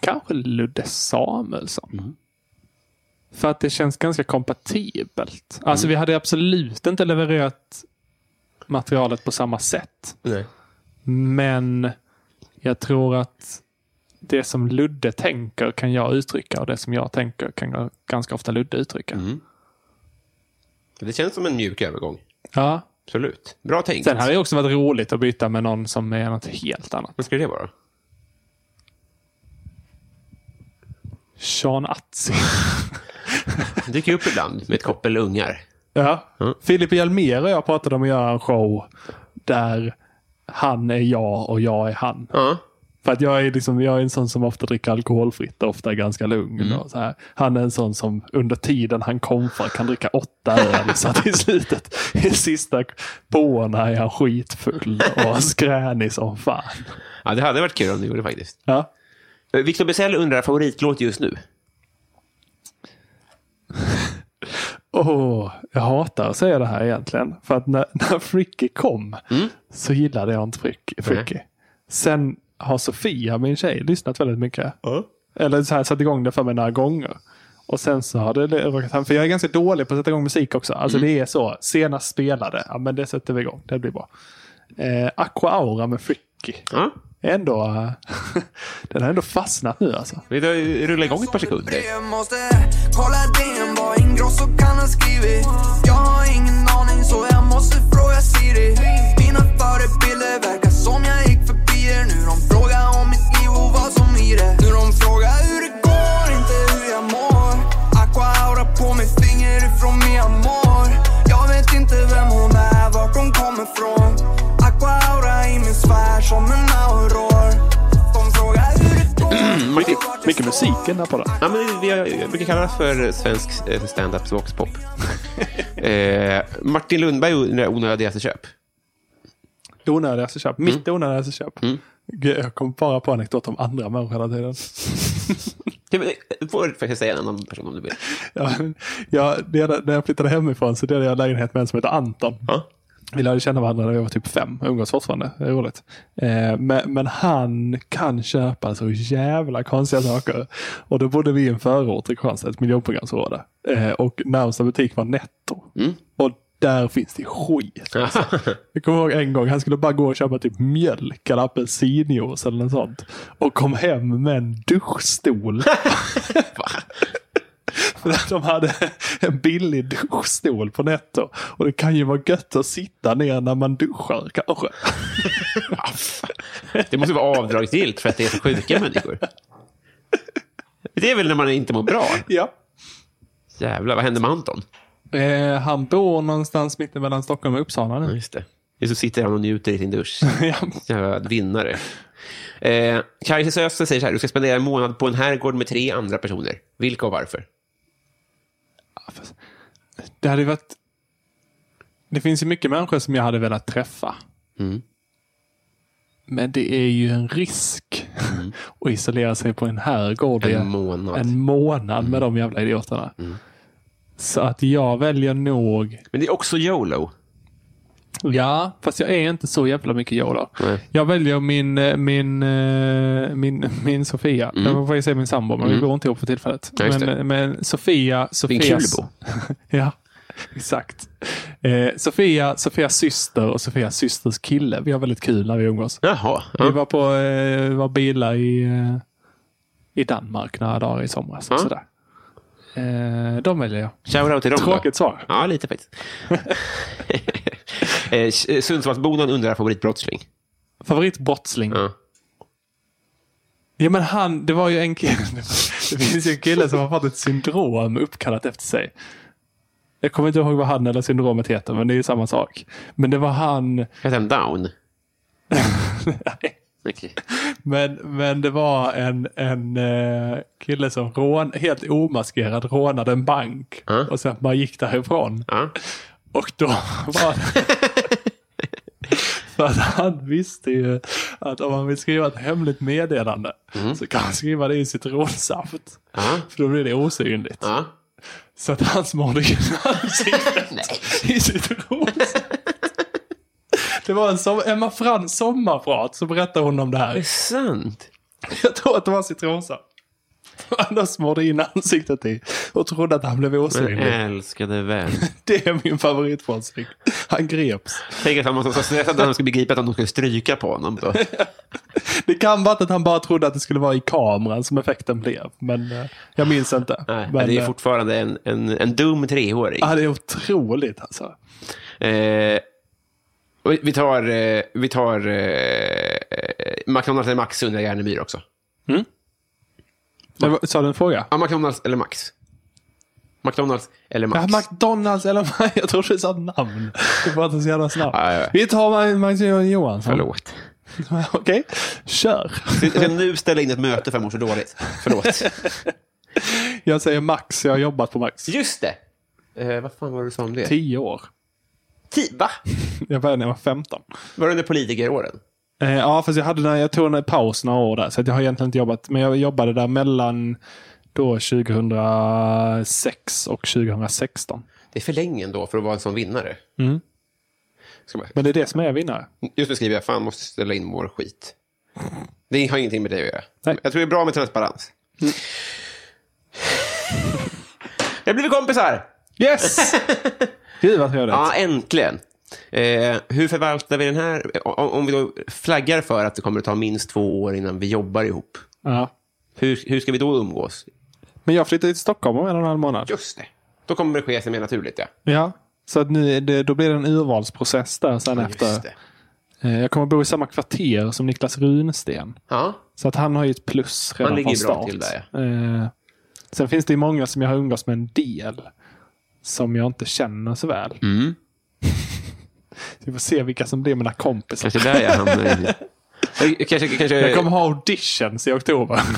S3: Kanske Ludde Samuelsson. För att det känns ganska kompatibelt. Alltså vi hade absolut inte levererat materialet på samma sätt.
S2: Nej.
S3: Men jag tror att det som Ludde tänker kan jag uttrycka och det som jag tänker kan jag ganska ofta Ludde uttrycka.
S2: Det känns som en mjuk övergång.
S3: Ja.
S2: Absolut. Bra tänkt.
S3: Sen hade det också varit roligt att byta med någon som är något helt annat.
S2: Vad skulle det vara?
S3: Sean Atzi.
S2: Det dyker upp ibland med ett koppel ungar.
S3: Ja.
S2: Mm.
S3: Filip Hjelmér och jag pratade om att göra en show där han är jag och jag är han.
S2: Ja.
S3: För att jag är, liksom, jag är en sån som ofta dricker alkoholfritt och ofta är ganska lugn. Och så här. Han är en sån som under tiden han komfar kan dricka åtta öl. så att i slutet, i sista påarna är han skitfull och skränig som fan.
S2: ja, det hade varit kul om du gjorde det faktiskt.
S3: Ja.
S2: Eh, Victor Bessell undrar favoritlåt just nu.
S3: Åh, jag hatar att säga det här egentligen. För att när, när Fricky kom så gillade jag inte Frick, Fricky. Sen har Sofia, min tjej, lyssnat väldigt mycket. Eller så här, satt igång det för mig några gånger. Och sen så har det råkat hamna... För jag är ganska dålig på att sätta igång musik också. Alltså det är så. Senast spelade, ja men det sätter vi igång. Det blir bra. Eh, Aqua Aura med Fricky.
S2: Ja.
S3: Ändå... eh, den har ändå fastnat nu alltså.
S2: Vi drar- rullar igång ett par sekunder.
S6: Jag måste kolla DN vad Ingrosso kan ha skrivit Jag har ingen aning så jag måste fråga Siri Mina förebilder verkar som jag gick förbi er Nu de frågar om mitt liv och vad som i det Nu de frågar hur det går, inte hur jag mår Aqua aura på mitt finger ifrån Mia Moore Jag vet inte vem hon är, vart hon kommer ifrån Aqua aura i min sfär som en auror De frågar hur det går
S2: Mycket-
S3: Mycket musik i den här podden.
S2: Ja, men vi har, jag brukar kalla det för svensk eh, stand-up voxpop. eh, Martin Lundberg undrar onödigaste köp.
S3: onödigaste köp. Mitt onödigaste köp. Gud, Jag kom bara på anekdot om andra människor hela tiden.
S2: Ja, men, eh, Får jag säga en annan person om du vill?
S3: Ja, men jag, delade, när jag flyttade hemifrån så delade jag lägenhet med en som heter Anton.
S2: Ja.
S3: Vi lärde känna varandra när vi var typ fem och umgås fortfarande. Det är roligt. Eh, men, men han kan köpa så jävla konstiga saker. Och då bodde vi i en förort i Kristianstad, ett miljonprogramsområde. Eh, och närmsta butik var Netto. Och där finns det skit. Alltså. Jag kommer ihåg en gång, han skulle bara gå och köpa typ mjölk eller apelsinjuice eller något sånt. Och kom hem med en duschstol. För att de hade en billig duschstol på Netto. Och det kan ju vara gött att sitta ner när man duschar kanske.
S2: Det måste vara avdragsgillt för att det är så sjuka människor. Det är väl när man inte mår bra.
S3: Ja.
S2: Jävlar, vad hände med Anton?
S3: Eh, han bor någonstans mitt mellan Stockholm och Uppsala nu.
S2: Just det. Just så sitter han och njuter i sin dusch.
S3: Ja.
S2: Jävla vinnare. Eh, Kajsa Öster säger så här, du ska spendera en månad på en herrgård med tre andra personer. Vilka och varför?
S3: Det hade ju varit... Det finns ju mycket människor som jag hade velat träffa.
S2: Mm.
S3: Men det är ju en risk att isolera sig på en herrgård i
S2: Mm. En månad. Mm.
S3: en månad med de jävla idioterna. Så att jag väljer nog...
S2: Men det är också YOLO.
S3: Ja, fast jag är inte så jävla mycket YOLO.
S2: Nej.
S3: Jag väljer min, eh, min, eh, min, min Sofia. Jag får ju säga min sambo, men vi bor inte ihop för tillfället.
S2: Mm. Ja, just det.
S3: men, men Sofia...
S2: Din
S3: Sofias,
S2: kulbo.
S3: Ja, exakt. Eh, Sofia, Sofias syster och Sofias systers kille. Vi har väldigt kul när vi umgås.
S2: Jaha.
S3: Vi
S2: Ja.
S3: var på eh, vi var bilar i, eh, i Danmark några dagar i somras.
S2: Ja.
S3: Och sådär. Eh, de väljer jag.
S2: Shoutout till dem då.
S3: Tråkigt svar.
S2: Ja, lite faktiskt. eh, Sundsvallsbonan undrar favoritbrottsling.
S3: Favoritbrottsling.
S2: Ja.
S3: Ja, men han, det var ju en kille. Det finns ju en kille som har fått ett syndrom uppkallat efter sig. Jag kommer inte ihåg vad han eller syndromet heter, men det är ju samma sak. Men det var han
S2: Heter han Down? Okej.
S3: Men, men det var en, en eh, kille som rån, helt omaskerad rånade en bank och sen bara gick därifrån.
S2: Ja.
S3: Och då var det... För att han visste ju att om man vill skriva ett hemligt meddelande så kan han skriva det i citronsaft.
S2: Mm. Ja.
S3: För då blir det osynligt.
S2: Ja.
S3: Så att han smorde in ansiktet i citronsaft. Det var en som, Emma Frans sommarprat så berättade hon om det här.
S2: Det är sant.
S3: Jag tror att det var citronsaft. Annars smorde in ansiktet i och trodde att han blev
S2: Men
S3: osynlig.
S2: älskade vän.
S3: Det är min favoritbrottsling. Han greps.
S2: Tänk att han måste vara så stressad när han ska begripa att de skulle stryka på honom. Då.
S3: Det kan vara att han bara trodde att det skulle vara i kameran som effekten blev. Men eh, jag minns inte.
S2: Nej,
S3: men,
S2: det är
S3: eh,
S2: fortfarande en, en, en dum treåring.
S3: ja, det är otroligt alltså.
S2: Eh, och vi tar, eh, vi tar eh, McDonalds eller Max undrar Järnemyr också.
S3: Det var, sa du en fråga?
S2: Ja, McDonalds eller Max? McDonalds eller Max?
S3: Ja, McDonalds eller Jag trodde du sa namn. Du pratar så jävla snabbt.
S2: Ja, ja, ja.
S3: Vi tar Mag- Magnus Johansson.
S2: Förlåt.
S3: Okej, kör.
S2: Jag ska nu ställa in ett möte för jag mår så dåligt. Förlåt.
S3: Jag säger Max, jag har jobbat på Max.
S2: Just det! Eh, vad fan var det du sa om det?
S3: Tio år.
S2: Ti- va?
S3: Jag började när jag var 15.
S2: Var det under politikeråren?
S3: Eh, ja, fast jag, hade, den- jag tog en paus några år där. Så att jag har egentligen inte jobbat. Men jag jobbade där mellan då 2006 och 2016.
S2: Det är för länge ändå för att vara en sån vinnare. Ska bara,
S3: Men det är det som är vinnare.
S2: just nu skriver jag fan måste ställa in vår skit. Det har ingenting med det att göra.
S3: Nej.
S2: Jag tror det är bra med transparens. jag blir kompisar!
S3: Yes! Gud vad trevligt.
S2: Ja, äntligen. Eh, hur förvaltar vi den här? Eh, Om, om vi då flaggar för att det kommer att ta minst två år innan vi jobbar ihop.
S3: Ja.
S2: Hur, hur ska vi då umgås?
S3: Men jag flyttade till Stockholm om en och en halv månad.
S2: Just det. Då kommer det ske sig mer naturligt, ja.
S3: Ja. Så att nu, är det, då blir det en urvalsprocess där sen
S2: Just
S3: efter.
S2: det.
S3: Eh, Jag kommer bo i samma kvarter som Niklas Runsten.
S2: Ja.
S3: Så att han har ju ett plus redan
S2: Han ligger
S3: från
S2: ju bra
S3: start.
S2: till där,
S3: eh, sen finns det ju många som jag har umgås med en del. Som jag inte känner så väl.
S2: Mm.
S3: Vi får se vilka som blir mina kompisar.
S2: Kanske där eh, jag hamnar. i- Kanske, kanske...
S3: Jag kommer ha auditions i oktober.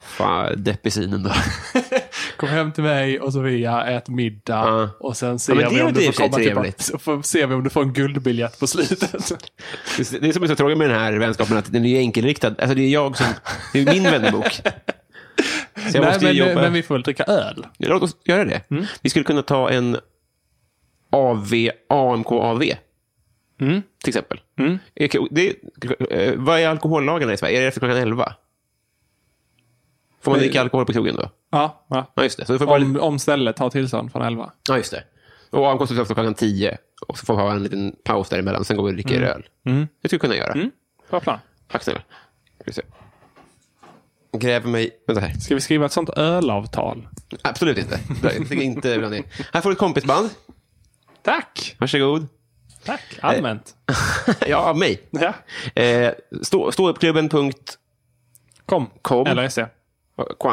S2: Fan, deppig synen då.
S3: Kom hem till mig och Sofia, ät middag.
S2: Ja.
S3: Och sen
S2: Ja,
S3: ser
S2: men det
S3: vi
S2: är
S3: om
S2: väl
S3: du
S2: i och för
S3: får
S2: sig
S3: komma tillbaka.
S2: trevligt.
S3: Så får, ser vi om du får en guldbiljett på slutet.
S2: Det är det som är så tråkigt med den här vänskapen, att den är ju enkelriktad. Alltså, det är jag som... Det är min vänbok. Så jag
S3: Nej,
S2: måste ju
S3: men,
S2: jobba...
S3: men vi Mm. får väl dricka öl.
S2: Låt oss göra det. Vi skulle kunna ta en AV, AMK-AV.
S3: Mm.
S2: Till exempel. Är- Det, eh, vad är alkohollagarna i Sverige? Är det efter klockan 11? Får man
S3: Men-
S2: dricka alkohol på krogen då?
S3: Ja, ja.
S2: Ja, just det. Så du får bara
S3: Om,
S2: lite...
S3: om stället har tillstånd från 11.
S2: Ja, just det. Och ankomsten är ofta klockan 10. Och så får vi ha en liten paus däremellan. Sen går vi och dricker
S3: Mm.
S2: öl. Det skulle vi kunna göra.
S3: Bra plan.
S2: Tack snälla. Ska vi se. Gräver mig... Vänta här.
S3: Ska vi skriva ett sånt ölavtal?
S2: Absolut inte. Det ligger inte bland det. Här får du ett kompisband.
S3: Tack!
S2: Varsågod.
S3: Tack! Allmänt.
S2: Ja, av mig.
S3: Ja.
S2: Eh, stå, ståuppklubben.kwansta.
S3: Kom.
S2: Kom.
S3: Eller SE.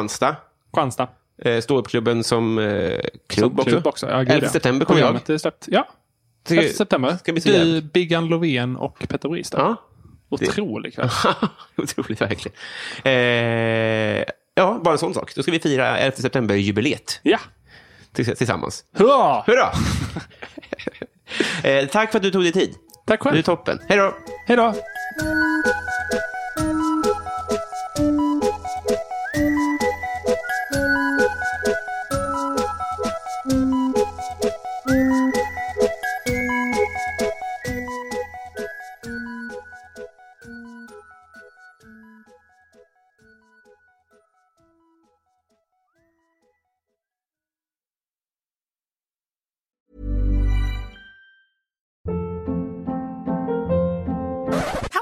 S3: Kristianstad.
S2: Eh, ståuppklubben som eh, klubb också.
S3: Klubb också. Ja, gud,
S2: 11
S3: ja.
S2: september kommer jag.
S3: Programmet är släppt. Ja.
S2: Tycker-
S3: 11 september.
S2: Ska bli så
S3: du,
S2: jävligt.
S3: Biggan Lovén och Petter Bristad.
S2: Ja.
S3: Otrolig kväll.
S2: Otroligt verkligen. Eh, ja, bara en sån sak. Då ska vi fira 11 september-jubileet
S3: Ja.
S2: tills- tillsammans.
S3: Hurra!
S2: Hurra! eh, tack för att du tog dig tid.
S3: Tack
S2: Du är
S3: själv.
S2: toppen. Hej då!
S3: Hej då!